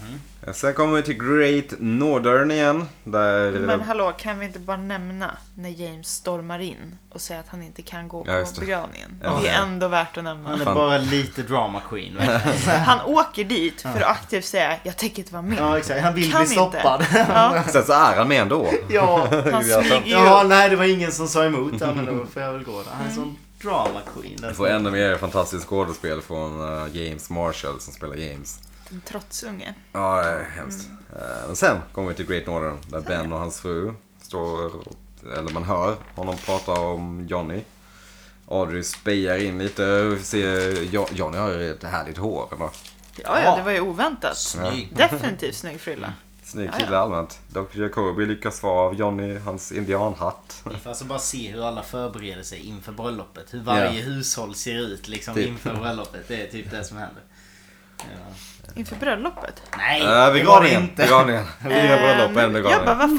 S1: Mhm.
S2: Eh, Sen kommer vi till Great Northern igen. Där...
S3: Men hallå, kan vi inte bara nämna när James stormar in och säger att han inte kan gå på
S2: Ja, just det.
S3: begravningen?
S2: Ja.
S3: Det är ändå värt att nämna.
S1: Han är
S2: Fan.
S1: bara lite drama queen.
S2: [LAUGHS]
S1: verkligen.
S3: Han åker dit för att aktivt säga jag tänker inte vara med.
S1: Ja exakt, han vill
S3: Kan
S1: bli
S3: inte.
S1: stoppad. [LAUGHS]
S2: [LAUGHS]
S3: Ja,
S2: Sen så är han med ändå.
S1: ja.
S3: han smyger ju
S1: ja,
S3: upp.
S1: nej det var ingen som sa emot. Ja, men då får jag väl gå då. Han är en
S3: Mm.
S1: sån drama queen. alltså.
S2: Vi får ännu mer fantastiskt skådespel från eh, James Marshall som spelar James.
S3: En trotsunge.
S2: Ja, det är hemskt. Eh, Men sen kommer vi till Great Northern där Ben och hans fru står, och- eller man hör honom prata om Johnny. Audrey spejar in lite och ser, Jo- Johnny har ju ett härligt hår. va?
S3: Ja, ja,
S1: Ja.
S3: det var ju oväntat.
S1: Snygg.
S3: Definitivt snygg frilla.
S2: Snygg
S3: Ja, ja.
S2: kille allmänt. Dr. Jacobi lyckas få av Johnny hans indianhatt.
S1: Vi får alltså bara se hur alla förbereder sig inför bröllopet. Hur varje
S2: Ja.
S1: hushåll ser ut liksom
S2: Typ.
S1: inför bröllopet. Det är typ det som händer. Ja.
S3: Inför bröllopet.
S1: Nej,
S2: Äh,
S1: det var det
S2: begravningen!
S1: inte.
S2: Begravningen! Fyra bröllop och
S3: Eh,
S2: en
S3: jag bara,
S2: begravning.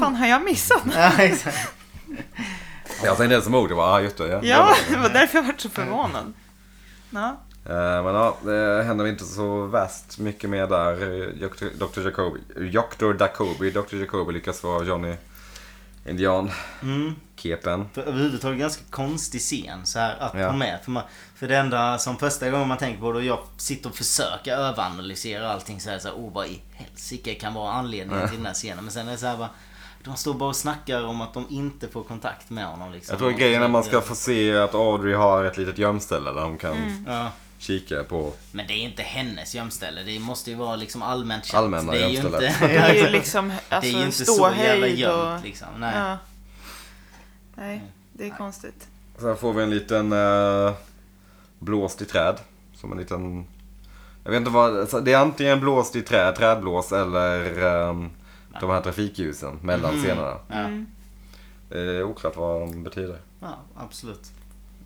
S3: vad fan har jag
S1: [LAUGHS]
S3: missat?
S2: Mm.
S1: Ja, exakt.
S2: Jag tänkte ens emot det var, ah just det. Ja.
S3: [LAUGHS] Ja, det var därför jag vart så förvånad. Ja,
S2: Eh, Men ja, det händer inte så värst mycket mer där. Jok- Dr. Jacobi, Dr. Jacobi, Dr. Jacobi lyckas få Johnny Indian
S1: Mm.
S2: kepen.
S1: För överhuvudtaget ganska konstig scen så här att
S2: Ja.
S1: ta med. För, man, för det enda som första gången man tänker på det och jag sitter och försöker överanalysera allting så här. Så här oh, vad i helsike kan vara anledningen till den här scenen. Men sen är det så här bara. De står bara och snackar om att de inte får kontakt med honom. Liksom.
S2: Jag tror grejen är att man ska få se att Audrey har ett litet gömställe där hon kan
S1: Ja.
S2: kika på.
S1: Men det är inte hennes gömställe. Det måste ju vara liksom allmänt känt.
S2: Allmänna
S1: det är ju
S2: gömställe.
S1: inte, [LAUGHS]
S3: det är ju liksom alltså,
S1: det är ju inte så jävla
S3: ståhöjd
S1: gömt
S3: och...
S1: liksom. Nej.
S3: Ja. Nej, det är konstigt.
S2: Sen får vi en liten eh, blåst i träd. Som en liten... Jag vet inte vad... alltså, Det är antingen blåst i träd, trädblås eller ehm, de här trafikljusen mellan scenerna.
S1: Ja.
S2: Det är oklart vad de betyder.
S1: ja, absolut.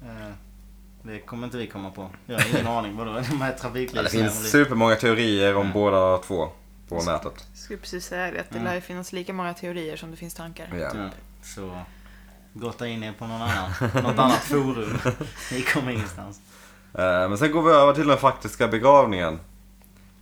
S1: Eh, Det kommer inte vi komma på. Jag har ingen aning vadå de här
S2: Ja, det
S1: trafiklysen.
S2: finns supermånga teorier om båda två på nätet.
S3: Jag skulle precis säga det, att det lär ju finnas lika många teorier som det finns tankar.
S2: Mm. Ja.
S1: Ja, Så gotta in er på någon annan, något annat forum. Ni kommer ingenstans.
S2: Eh, Men sen går vi över till den faktiska begravningen.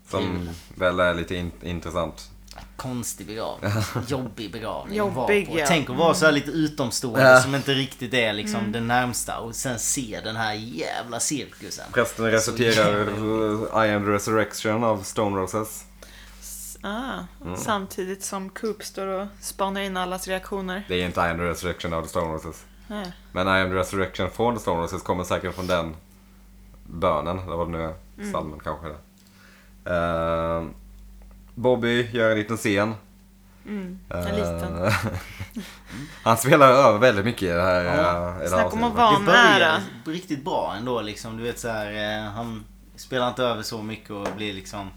S2: Som väl är lite in- intressant.
S1: Konstig begravning. Jobbig begravning. att vara
S3: Jobbig,
S1: på.
S3: ja.
S1: Tänk att vara så här lite utomstående
S2: Ja.
S1: som inte riktigt är liksom
S3: Mm.
S1: den närmsta och sen se den här jävla cirkusen.
S2: Prästen reciterar eh, I am the resurrection av Stone Roses.
S3: S- Ah,
S2: Mm.
S3: Samtidigt som Coop står och spanar in allas reaktioner.
S2: Det är inte I am the resurrection av the Stone Roses.
S3: Nej.
S2: Men I am the resurrection från the Stone Roses kommer säkert från den bönen. Eller vad det nu är. Psalmen kanske det är. Eh, Bobby gör en liten scen.
S3: Mm, en liten.
S2: Eh, [LAUGHS] han spelar över väldigt mycket i det här,
S1: Ja.
S2: eh, i det här
S3: Snacka om
S2: avsnittet.
S3: att vara- Ja,
S1: det börjar
S3: nära.
S1: riktigt bra ändå liksom. Du vet så här, eh, han spelar inte över så mycket och blir liksom...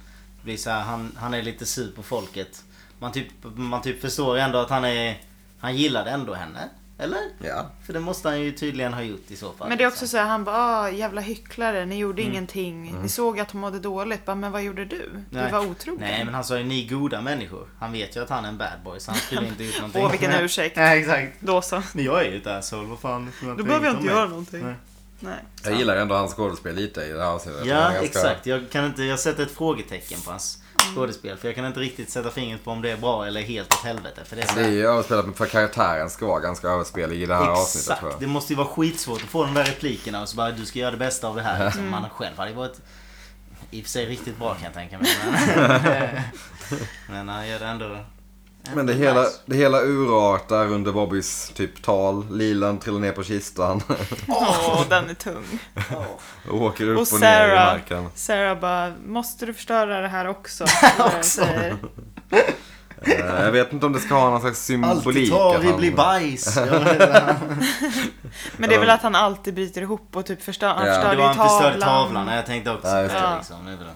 S1: Blir så här, han, han är lite sur på folket. Man typ, man typ förstår ändå att han är... Han gillade ändå henne. Eller?
S2: Ja.
S1: För det måste han ju tydligen ha gjort i så fall.
S3: Men det är också
S1: liksom.
S3: så här, han bara ah, jävla hycklare, ni
S2: Mm.
S3: gjorde ingenting. Ni såg att hon mådde dåligt, bara, men vad gjorde du? Du
S1: liksom. Nej.
S3: var otrogen.
S1: Nej men han sa ju ni goda människor. Han vet ju att han är en bad boy så han skulle inte gjort någonting.
S3: [LAUGHS] Åh vilken
S1: [LAUGHS]
S3: ursäkt.
S1: Nej exakt.
S3: Då så.
S1: Men jag är ju ett asshole, vad fan.
S3: Då behöver jag inte göra någonting.
S1: Nej.
S3: Nej.
S2: Jag gillar ändå hans skådespel lite i det här avsnittet. Han
S1: Ja
S2: är ganska-
S1: exakt. Jag, kan inte, jag sätter ett frågetecken på hans skådespel. För jag kan inte riktigt sätta fingret på om det är bra eller helt åt helvete. För det är så
S2: Det är
S1: här,
S2: ju överspelat men för karaktären ska vara ganska överspelig i det här avsnittet
S1: Exakt.
S2: tror jag.
S1: Det måste ju vara skitsvårt att få de där replikerna och så bara du ska göra det bästa av det här. Liksom. Man själv hade ju varit i och för sig riktigt bra kan jag tänka [LAUGHS] mig. Men, eh, men han gör det ändå.
S2: Men det
S1: ändå
S2: hela,
S1: nice.
S2: det hela urartar under Bobbys typ tal. Lilan trillar ner på kistan. [LAUGHS]
S3: Åh, [LAUGHS] den är tung.
S2: och åker upp och,
S3: Och
S2: ner i
S3: Sarah.
S2: marken.
S3: Sarah bara, måste du förstöra det här
S2: [LAUGHS]
S3: också?
S1: Också.
S3: Säger.
S2: Eh, Jag vet inte om det ska ha någon slags
S1: Alltid
S2: symbolik.
S1: tar
S2: att
S1: vi
S2: han-
S1: blir
S2: [LAUGHS]
S1: bajs. Ja, det-
S3: Men det är väl att han alltid bryter ihop och typ förstör, han
S2: Ja.
S1: Det
S3: förstörde
S1: var
S3: ju
S1: han förstörde
S3: tavlan.
S1: tavlan. Nej, Jag tänkte också
S2: Ja,
S1: ja,
S2: just
S3: det.
S1: det. Liksom. Det är väl det.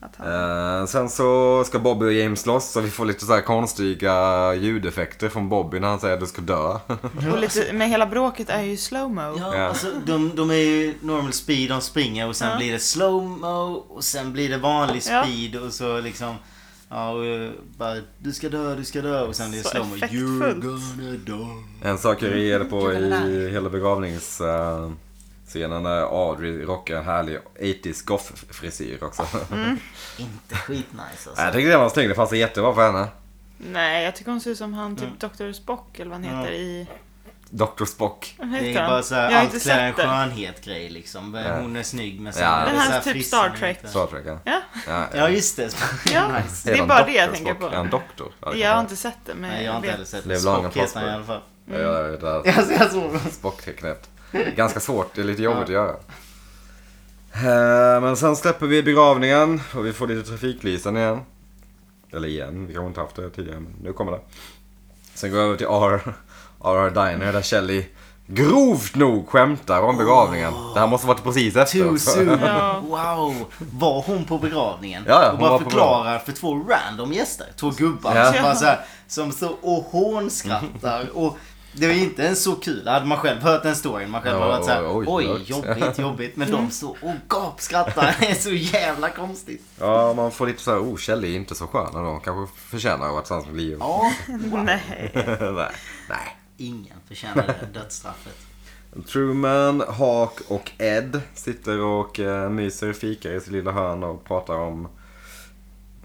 S3: Att han,
S2: Eh, sen så ska Bobby och James loss så vi får lite så här konstiga ljudeffekter från Bobby när han säger att du ska dö. [LAUGHS]
S3: och lite, men hela bråket är ju slowmo.
S1: Ja,
S2: Ja.
S1: Alltså, de, de är ju normal speed, de springer och sen
S3: Ja.
S1: blir det slowmo och sen blir det vanlig
S3: Ja.
S1: speed och så liksom... Ja, och eh, bara du ska dö, du ska dö och sen blir det
S3: Så
S1: slowmo. You're
S3: effektfullt.
S1: gonna die.
S3: Mm.
S2: En sak jag reagerade på i hela begravnings... eh, Scenen när Audrey rockar en härlig 80s goth-frisyr också.
S3: Mm.
S2: [LAUGHS]
S1: Inte skitnice alltså.
S2: jag tyckte den var snygg, det passade jättebra på henne.
S3: Nej, jag tycker hon ser ut som han, typ Dr. Spock eller vad han heter i...
S2: Dr Spock.
S3: Vad
S1: Det
S3: heter
S1: är
S3: han?
S1: bara såhär,
S3: jag har inte
S1: allt klär en
S3: sett det.
S1: skönhet grej liksom. Hon är snygg men sen
S2: Ja.
S1: är det
S2: Den
S3: här
S1: så här
S3: typ
S1: frissan
S3: Star Trek.
S1: inte-
S2: Star Trek ja.
S3: Ja,
S2: ja.
S1: Ja just det.
S3: ja.
S1: nice.
S3: det är
S2: han
S3: bara
S2: Dr.
S3: det jag tänker
S2: Spock?
S3: på.
S2: Är han doktor? Ja, det
S3: Jag har
S2: kan
S3: inte sett det, men
S1: Nej jag har inte
S3: vet.
S1: heller sett det.
S2: Lev lång och
S1: Spock heter han i
S2: prosper.
S1: alla fall. [LAUGHS]
S2: vara. Jag gör
S3: Mm.
S2: det där
S1: Jag ser så.
S2: Spock-tecknet. Det är Ganska svårt, det är lite jobbigt att göra. Eh, Men sen släpper vi begravningen och vi får lite trafiklysen igen. Eller igen, vi kanske inte haft det tidigare men nu kommer det. Sen går vi över till R. RR Diner där Shelley grovt nog skämtar om begravningen. Det här måste varit precis efter.
S1: Too
S2: också. [LAUGHS]
S1: soon.
S3: Ja.
S1: Wow. Var hon på begravningen?
S2: Ja, ja,
S1: och
S2: hon
S1: bara
S2: var på
S1: förklarar för två random gäster. Två gubbar
S2: Ja. Mm.
S1: som bara så här, som så och hånskrattar. Och det var inte ens så kul. Hade man själv hört den storyn. Man själv
S2: Ja,
S1: hade varit så här,
S2: oj,
S1: oj,
S2: oj, mörkt."
S1: jobbigt, jobbigt. Men de så och gapskrattar. [LAUGHS] Det är så jävla konstigt.
S2: Ja, man får lite så här, oh Kjell är inte så skön ändå. Kanske förtjänar att vara tillsammans med Leo.
S1: Ja,
S3: Nej.
S2: [LAUGHS] Nej. Nej.
S1: ingen förtjänar det dödsstraffet.
S2: Truman, Hawk och Ed sitter och eh, myser och fikar i sin lilla hörn och pratar om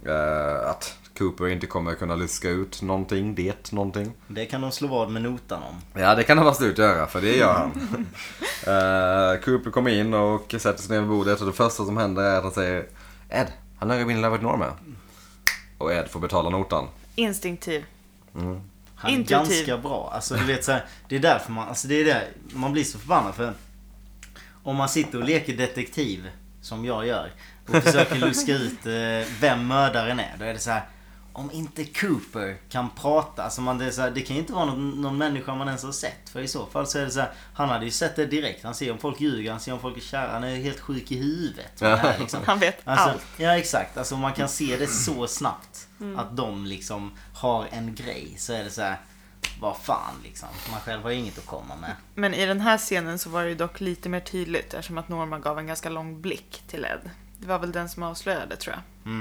S2: eh, att Cooper inte kommer kunna luska ut någonting, det någonting.
S1: Det kan de slå vad med notan om.
S2: Ja, det kan han absolut göra, för det gör han. Eh, Cooper kommer in och sätter sig ner vid bordet och det första som händer är att han säger Ed, han har min Love Norma. Och Ed får betala notan.
S3: Instinktiv.
S1: Han är
S3: Intuitiv.
S1: ganska bra. Alltså du vet så här, det är därför man, alltså det är det, man blir så förbannad för om man sitter och leker detektiv som jag gör och försöker luska ut eh, vem mördaren är. Då är det så här, om inte Cooper kan prata, alltså man, det, är så här, det kan ju inte vara någon, någon människa man ens har sett. För i så fall så är det så här, han hade ju sett det direkt. Han ser om folk ljuger, han ser om folk är kära, han är helt sjuk i huvudet. med det här, liksom.
S3: Han vet
S1: Alltså,
S3: allt. Mm.
S1: Ja exakt, alltså om man kan se det så snabbt att de liksom har en grej så är det så här. Vad fan liksom, man själv har ju inget att komma med.
S3: Men i den här scenen så var det ju dock lite mer tydligt eftersom att Norma gav en ganska lång blick till Ed. Det var väl den som avslöjade tror jag.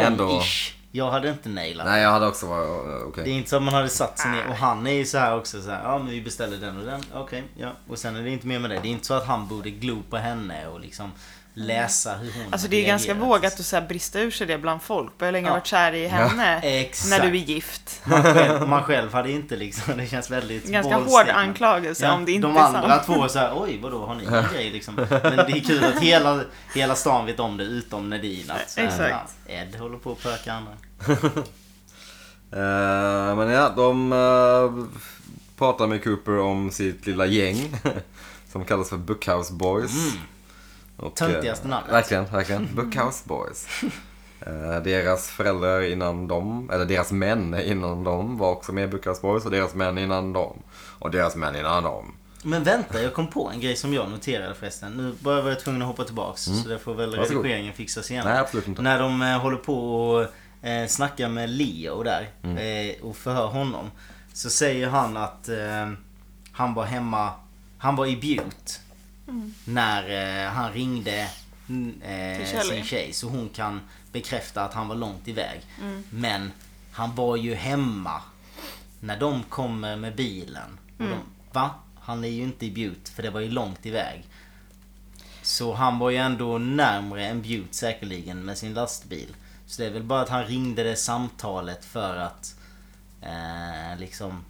S2: Ändå.
S1: Long-ish. Jag hade inte nailat.
S2: Nej, jag hade också varit... eh, Okej.
S1: Det är inte så att man hade satt sig ner och han är ju så här också så här, ja men vi beställer den och den, okej, ja. Och sen är det inte mer med det. Det är inte så att han borde glo på henne och liksom läsa hur hon
S3: Alltså det är ganska
S1: reagerar.
S3: vågat att så här brista ur sig det bland folk. Börja länge
S1: Ja.
S3: varit kär i henne
S1: Exakt.
S3: när du är
S1: [LAUGHS]
S3: gift.
S1: Man själv, man själv hade inte liksom, det känns väldigt
S3: Ganska hård
S1: bold statement.
S3: anklagelse om det inte
S1: de
S3: är
S1: andra
S3: sant.
S1: två så här, oj vadå har ni en grej liksom? Men det är kul att hela, hela stan vet om det utom Nadine. Att, så här,
S3: Exakt.
S1: ja, Ed håller på att pöka andra.
S2: Eh, men ja, de eh, pratar med Cooper om sitt lilla gäng. [LAUGHS] som kallas för Bookhouse Boys. Och,
S1: Töntigaste
S2: eh,
S1: namnet.
S2: Verkligen, verkligen. Bookhouse Boys. Eh, deras föräldrar innan dem, eller deras män innan dem var också med i Bookhouse Boys. Och deras män innan dem. Och deras män innan dem.
S1: Men vänta, jag kom på en grej som jag noterade förresten. Nu börjar jag vara tvungen att hoppa tillbaks. Så det får väl
S2: Mm. Varsågod.
S1: redigeringen fixa senare.
S2: Nej, absolut inte.
S1: När de eh, håller på och eh, snackar med Leo där
S2: Mm.
S1: eh, och förhör honom. Så säger han att eh, han var hemma, han var i Butte. När eh, han ringde mm,
S3: Till
S1: eh,
S3: Shelley.
S1: sin tjej så hon kan bekräfta att han var långt iväg.
S3: Mm.
S1: Men han var ju hemma när de kommer med bilen. Och
S3: Mm.
S1: de, va? Han är ju inte i Butte för det var ju långt iväg. Så han var ju ändå närmre än Butte säkerligen med sin lastbil. Så det är väl bara att han ringde det samtalet för att eh, liksom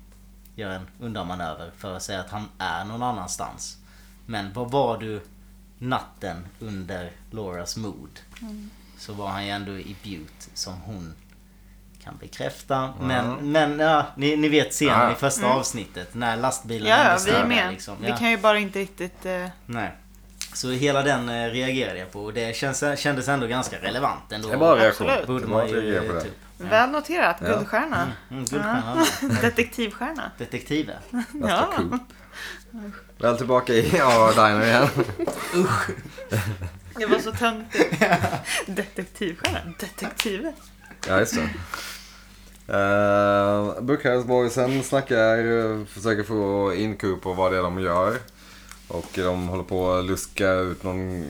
S1: göra en undanmanöver för att säga att han är någon annanstans. Men vad var du natten under Lauras mord?
S3: Mm.
S1: Så var han ju ändå i Butte som hon kan bekräfta. Men, men ja, ni, ni vet scenen
S2: Ja.
S1: i första avsnittet när lastbilen
S3: Mm. Ja, ja,
S1: ändå
S3: vi
S1: står
S3: är
S1: där
S3: med.
S1: liksom.
S3: Vi
S1: Ja.
S3: kan ju bara inte riktigt... Eh,
S1: Nej. Så hela den eh, reagerade jag på och det känns, kändes ändå ganska relevant ändå.
S2: Det är bara reaktion.
S3: Absolut.
S1: Borde
S2: Det var
S1: man
S2: att
S1: ju
S2: reagera på det.
S1: typ.
S3: Väl noterat. Guldstjärna.
S1: Mm, guldstjärna.
S3: [LAUGHS] Detektivstjärna.
S1: Detektiver.
S2: Mr.
S3: Ja.
S2: Coop. Alltså, Väl tillbaka i [LAUGHS] ja, Diner igen.
S3: Det var
S1: [LAUGHS]
S3: så töntigt. Detektivstjärna. Detektiven.
S2: Ja, just det. Uh, Bookhouse-boysen snackar, eh, försöker få inkup på vad det är de gör. Och de håller på att luska ut någon eh,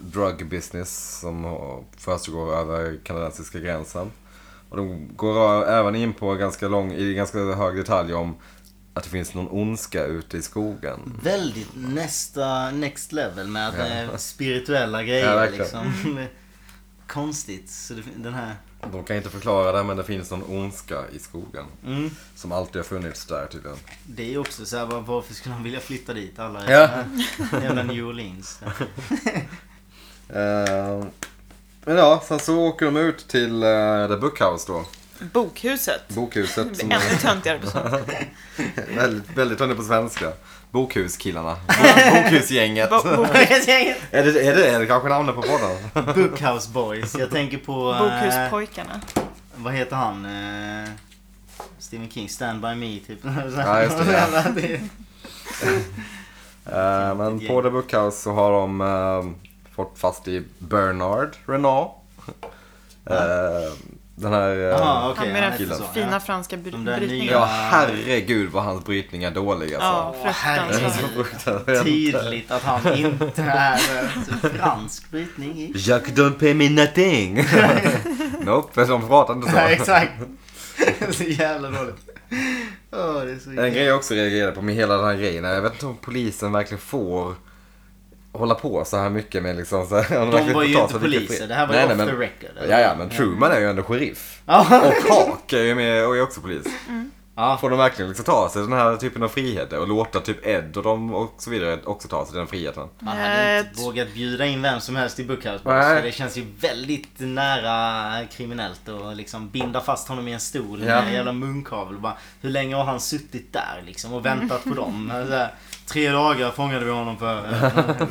S2: drug business som har- försiggår över kanadensiska gränsen. Och de går ö- även in på ganska lång, i ganska hög detalj om att det finns någon ondska ute i skogen.
S1: Väldigt nästa, next level med att det är
S2: Ja.
S1: spirituella
S2: Ja,
S1: grejer
S2: verkligen.
S1: liksom. [LAUGHS] Konstigt. Så det, den här...
S2: De kan inte förklara det men det finns någon ondska i skogen.
S1: Mm.
S2: Som alltid har funnits där tydligen.
S1: Det är ju också så här, var- varför skulle han vilja flytta dit alla?
S2: Ja.
S1: är- Jävla New
S2: [LAUGHS]
S1: Orleans.
S2: Eh, men ja, sen så åker de ut till eh, The Bookhouse då.
S3: Bokhuset.
S2: Bokhuset.
S3: Det
S1: Mm.
S2: Som
S3: blir ännu töntigare
S1: [LAUGHS]
S3: på sånt.
S2: är [LAUGHS] väldigt, väldigt tunna på svenska.
S3: [LAUGHS]
S2: Bokhuskillarna. Bo- Bokhusgänget.
S3: Bo- bo-
S2: är, det, är, det, är det kanske namnet på podden? Eh,
S1: Bookhouse Boys. Jag tänker på... eh,
S3: Bokhuspojkarna.
S1: Vad heter han? Eh, Stephen King, Stand By Me typ. [LAUGHS]
S2: Ja, just det, ja.
S1: det.
S2: Eh, men på The Bookhouse så har de eh, fått fast i Bernard Renault. Eh, den här... eh,
S1: Jaha,
S3: Han
S1: okej.
S3: med
S1: han
S3: den
S1: heter så,
S3: fina
S1: ja.
S3: franska
S1: De
S3: bry-
S1: där nya- alltså.
S2: Ja,
S3: brytningen.
S2: herregud vad hans brytning är dålig
S3: Ja,
S2: alltså. Det är så
S3: fruktansvärt.
S2: fruktansvärt.
S1: Tydligt att han inte är eh, fransk brytning. i-
S2: Jacques don't pay
S1: [LAUGHS]
S2: me nothing. nope, de pratar inte så.
S1: Nej, exakt. [LAUGHS] så jävla dåligt. Åh, det är så
S2: En grej jag också reagerade på med hela den här grejen är, jag vet inte om polisen verkligen får hålla på så här mycket med liksom så här, om [LAUGHS]
S1: De
S2: verkligen
S1: var
S2: får
S1: ju
S2: ta
S1: inte
S2: så mycket
S1: poliser,
S2: fri-
S1: det här var ju off the record, eller?
S2: Ja, ja, men Truman är ju ändå sheriff.
S1: Ja.
S2: [LAUGHS] Och Hawk är ju med och är också polis.
S1: Ja.
S2: Får de verkligen liksom ta sig den här typen av friheter och låta typ Ed och de och så vidare också ta sig den friheten?
S1: Man hade
S3: Nej,
S1: inte vågat bjuda in vem som helst i Bookhouse Boys.
S2: Nej.
S1: för Det känns ju väldigt nära kriminellt och liksom binda fast honom i en stol
S2: Ja.
S1: med en jävla munkavel. och Bara, hur länge har han suttit där liksom och väntat på [LAUGHS] dem? Så här, tre dagar fångade vi honom [LAUGHS] för. Han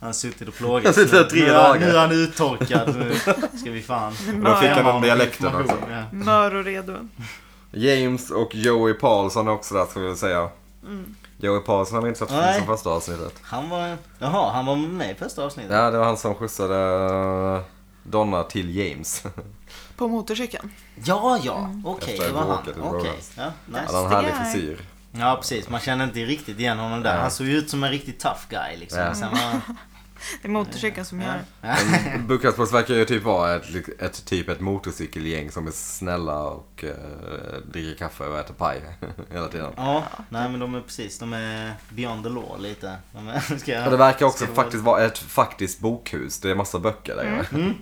S1: har suttit och
S2: Han
S1: plågats.
S2: sitter där tre
S1: nu, är han-
S2: dagar.
S1: Nu är han uttorkad. Nu ska vi [LAUGHS] fan...
S3: då fick han
S1: kräma
S2: den
S1: honom
S2: dialekten
S1: information.
S2: också.
S1: Ja.
S3: Mör och redo.
S2: James och Joey Paulson är också där skulle jag säga. Joey Paulson har vi inte sett
S1: Mm. Nej.
S2: från första avsnittet.
S1: Han var... Jaha, han var med i första avsnittet?
S2: Ja, det var han som skjutsade eh, Donna till James. [LAUGHS]
S3: På motorcykeln.
S1: Ja, ja.
S3: Mm.
S1: Okej,
S2: Efter
S1: det var han.
S2: bråket i
S1: Okej.
S2: Bronx.
S1: Ja, nice.
S2: Alltså, Han har en härlig
S3: guy.
S2: frisyr.
S1: Ja precis, man kände inte riktigt igen honom där. Han såg ju ut som en riktigt tough guy liksom.
S2: Ja.
S1: Sen
S3: [LAUGHS]
S1: var...
S3: Det är motorcykeln som gör
S1: ja.
S2: Bukarestpås Mm. verkar ju typ vara ett, ett, typ ett motorcykelgäng som är snälla och eh, dricker kaffe och äter paj [LAUGHS] hela tiden.
S1: ja, nej men de är precis, de är beyond the law lite. De är, [LAUGHS] ska jag,
S2: Och det verkar också
S1: ska vara
S2: faktiskt vara ett faktiskt bokhus. Det är massa böcker där inne.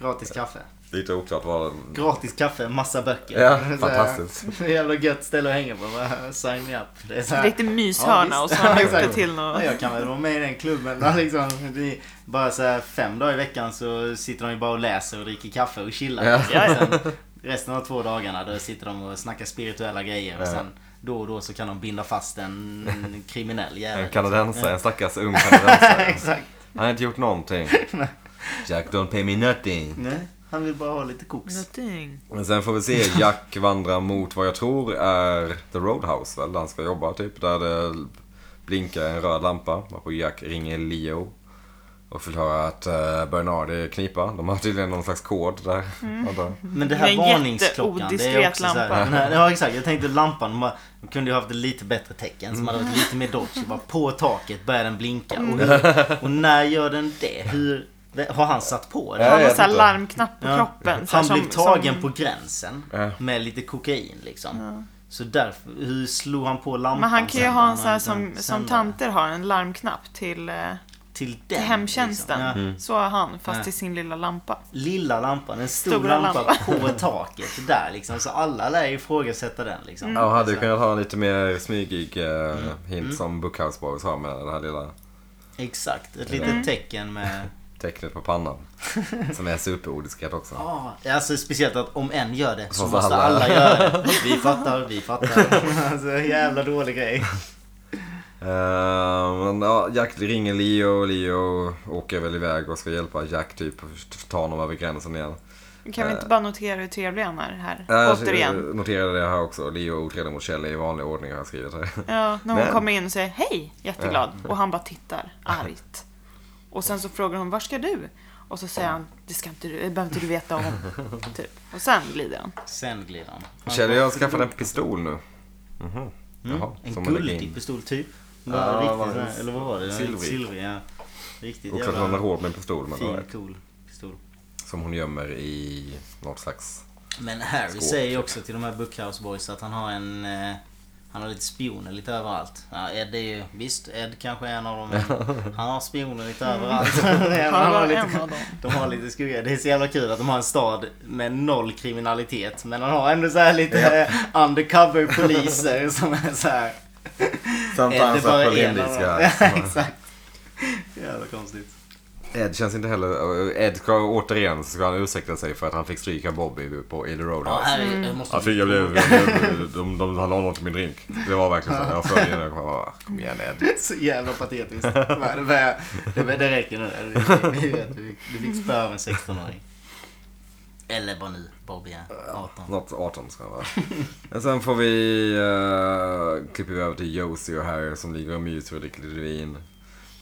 S1: Gratis kaffe.
S2: [LAUGHS] Lite oklart vad...
S1: Gratis kaffe, massa böcker.
S2: Ja,
S1: Så här,
S2: fantastiskt.
S1: Så jävla gött ställe att hänga på. Bara, Sign me up. Det är så här-
S3: Riktig myshörna
S1: [LAUGHS] Ja,
S3: och
S1: visst.
S3: så har han gjort
S1: Exakt.
S3: det till
S1: Ja,
S3: något.
S1: jag kan väl vara med i den klubben. Där, liksom, det är bara så här, fem dagar i veckan så sitter de ju bara och läser och dricker kaffe och chillar.
S2: Ja.
S3: Ja, ja.
S1: Sen, resten av två dagarna då sitter de och snackar spirituella grejer. Och sen då och då så kan de binda fast en
S2: [LAUGHS]
S1: kriminell jävel. liksom.
S2: En kanadensare, en stackars
S1: [LAUGHS]
S2: ung kanadensare.
S1: Exakt.
S2: Han har inte gjort någonting. Jack don't pay me nothing.
S1: Nej, han vill bara ha lite koks.
S3: Nothing.
S2: Men sen får vi se Jack vandra mot vad jag tror är The Roadhouse väl, där han ska jobba typ. Där det blinkar en röd lampa. Varpå Jack ringer Leo. Och förklarar att eh, Bernard är i knipa. De har tydligen någon slags kod där. antar jag.
S1: Men det
S3: Det
S1: här
S3: är en
S1: varningsklockan, det är
S3: jätteodiskret
S1: också så här,
S3: lampa.
S1: den här, Ja exakt, jag tänkte lampan, de har- de kunde ju haft ett lite bättre tecken som hade varit lite mer dodgy. Bara på taket börjar den blinka. Och, hur, och när gör den det? Hur, har han satt på den?
S2: Ja,
S3: Han har
S2: jag
S3: såhär
S2: vet inte.
S3: larmknapp på
S1: Ja.
S3: kroppen. så här
S1: Han blev
S3: som-
S1: tagen
S3: som-
S1: på gränsen
S2: Ja.
S1: med lite kokain liksom. Så därför, hur slog han på lampan
S3: Men han kan ju
S1: sen?
S3: ha en
S1: har
S3: sån här
S1: inte
S3: som,
S1: en
S3: som
S1: sändare.
S3: tanter har, en larmknapp till, eh,
S1: Till
S3: till
S1: den,
S3: hemtjänsten.
S1: liksom. Ja.
S2: Mm.
S3: Så har han, fast
S1: Ja.
S3: i sin lilla lampa.
S1: Lilla lampan, en stor
S3: Stora
S1: lampa
S3: lampan.
S1: på taket där liksom. Så alla lär ju ifrågasätta den liksom.
S3: Mm.
S2: Ja, och hade ju kunnat ha en lite mer smygig eh, hint som Bookhouse Boys har med det här lilla
S1: Exakt, ett litet tecken med...
S2: tecknet på pannan. som är superodiskret också.
S1: Ja, alltså speciellt att om en gör det så
S2: Måste
S1: måste
S2: alla.
S1: alla göra
S2: [LAUGHS]
S1: det. Vi fattar, vi fattar. [LAUGHS] Alltså jävla dålig grej.
S2: Eh, men ja, Jack ringer Leo och Leo åker väl iväg och ska hjälpa Jack typ att ta honom över gränsen igen.
S3: Kan vi inte bara notera hur trevlig han är här?
S2: Ja, jag
S3: Återigen.
S2: noterade det här också. Leo är otrevlig mot Kjell i vanlig ordning har jag skrivit här.
S3: Ja, när hon
S2: Men-
S3: kommer in och säger hej, jätteglad. Och han bara tittar argt. Och sen så frågar hon, var ska du? Och så säger han, det ska inte du, det behöver inte du veta
S2: [LAUGHS]
S3: om. Typ. Och sen glider han.
S1: Sen glider han.
S2: Kjell jag har skaffat en pistol nu.
S1: Mm,
S2: Jaha,
S1: en
S2: som man lägger in.
S1: guldig pistol typ.
S2: Ja,
S1: Bara
S2: det
S1: riktigt,
S2: var en
S1: sån här- eller vad var det?
S2: silvrig.
S1: Silvrig, ja. Riktigt
S2: Oklart om hon har
S1: jävla
S2: råd med en pistol men
S1: fin,
S2: alright.
S1: cool pistol.
S2: Som hon gömmer i något slags...
S1: Men Harry
S2: Skåp,
S1: säger ju
S2: typ.
S1: också till de här Bookhouse Boys att han har en... eh, Han har lite spioner lite överallt. Ja, Ed är ju, visst, Ed kanske är en av dem. men Han har spioner lite överallt.
S3: [LAUGHS] Han
S1: Han har
S3: var
S1: lite,
S3: en av dem.
S1: de har lite skugga. Det är så jävla kul att de har en stad med noll kriminalitet. Men han har ändå så här lite eh, undercover poliser som är så här. Ed är
S2: Sometimes
S1: bara
S2: I pull
S1: en
S2: in
S1: av
S2: these
S1: dem. [LAUGHS]
S2: guys.
S1: Exakt. Jävla konstigt.
S2: Ed känns inte heller... Ed ska återigen så ska han ursäkta sig för att han fick stryka Bobby på Illy
S1: Ja,
S2: Roadhouse.
S1: här är, jag måste...
S2: Ja, fy, jag blev... jag blev- De, de, han la något i min drink. Det var verkligen så. Jag följde den och bara, kom igen Ed.
S1: [LAUGHS] Så jävla
S2: [LAUGHS]
S1: patetiskt. Nej, Det, börjar, det, börjar, det räcker nu. Vi vet, vi- Du fick spö av en 16-åring. Eller vad nu Bobby är. 18.
S2: Något 18 ska det vara. [LAUGHS] Men sen får vi... eh, klipper vi över till Josie och Harry som ligger och myser och dricker lite vin.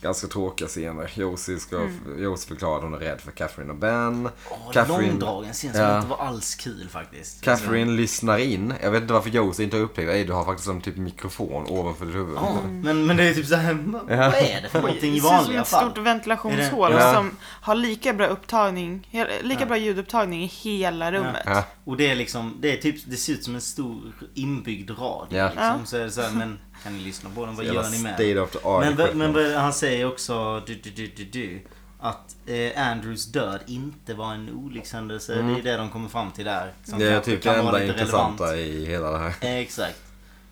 S2: Ganska tråkiga scener. Josie, ska,
S3: Mm.
S2: Josie förklarar att hon är rädd för Catherine och Ben.
S1: Åh,
S2: Catherine-
S1: långdragen scen som
S2: Ja.
S1: inte var alls kul faktiskt.
S2: Catherine lyssnar in. Jag vet inte varför Josie inte har upptäckt det. Du har faktiskt en typ mikrofon ovanför ditt huvud.
S1: Ja, men, men det är typ såhär, vad vad är det för någonting i
S3: Det ser ut som
S1: vanliga
S3: ett
S1: fall?
S3: stort ventilationshål
S2: Är det- Ja.
S3: som har lika bra upptagning, hel- lika bra ljudupptagning i hela rummet.
S2: Ja.
S1: Och det är liksom, det är typ, det ser ut som en stor inbyggd radio.
S2: Ja.
S1: Liksom. Så är det så här, men kan ni lyssna på den? Vad
S2: Jävla
S1: gör ni med
S2: state of the art
S1: Men, vad- men
S2: equipment.
S1: vad- han säger också du, du, du, du, du, att eh, Andrews död inte var en olyckshändelse. Det är det de kommer fram till där. Som
S2: Mm. Det är
S1: kanske
S2: typ
S1: kan
S2: det
S1: vara
S2: enda
S1: lite
S2: intressanta
S1: relevant.
S2: i hela det här.
S1: Eh, exakt.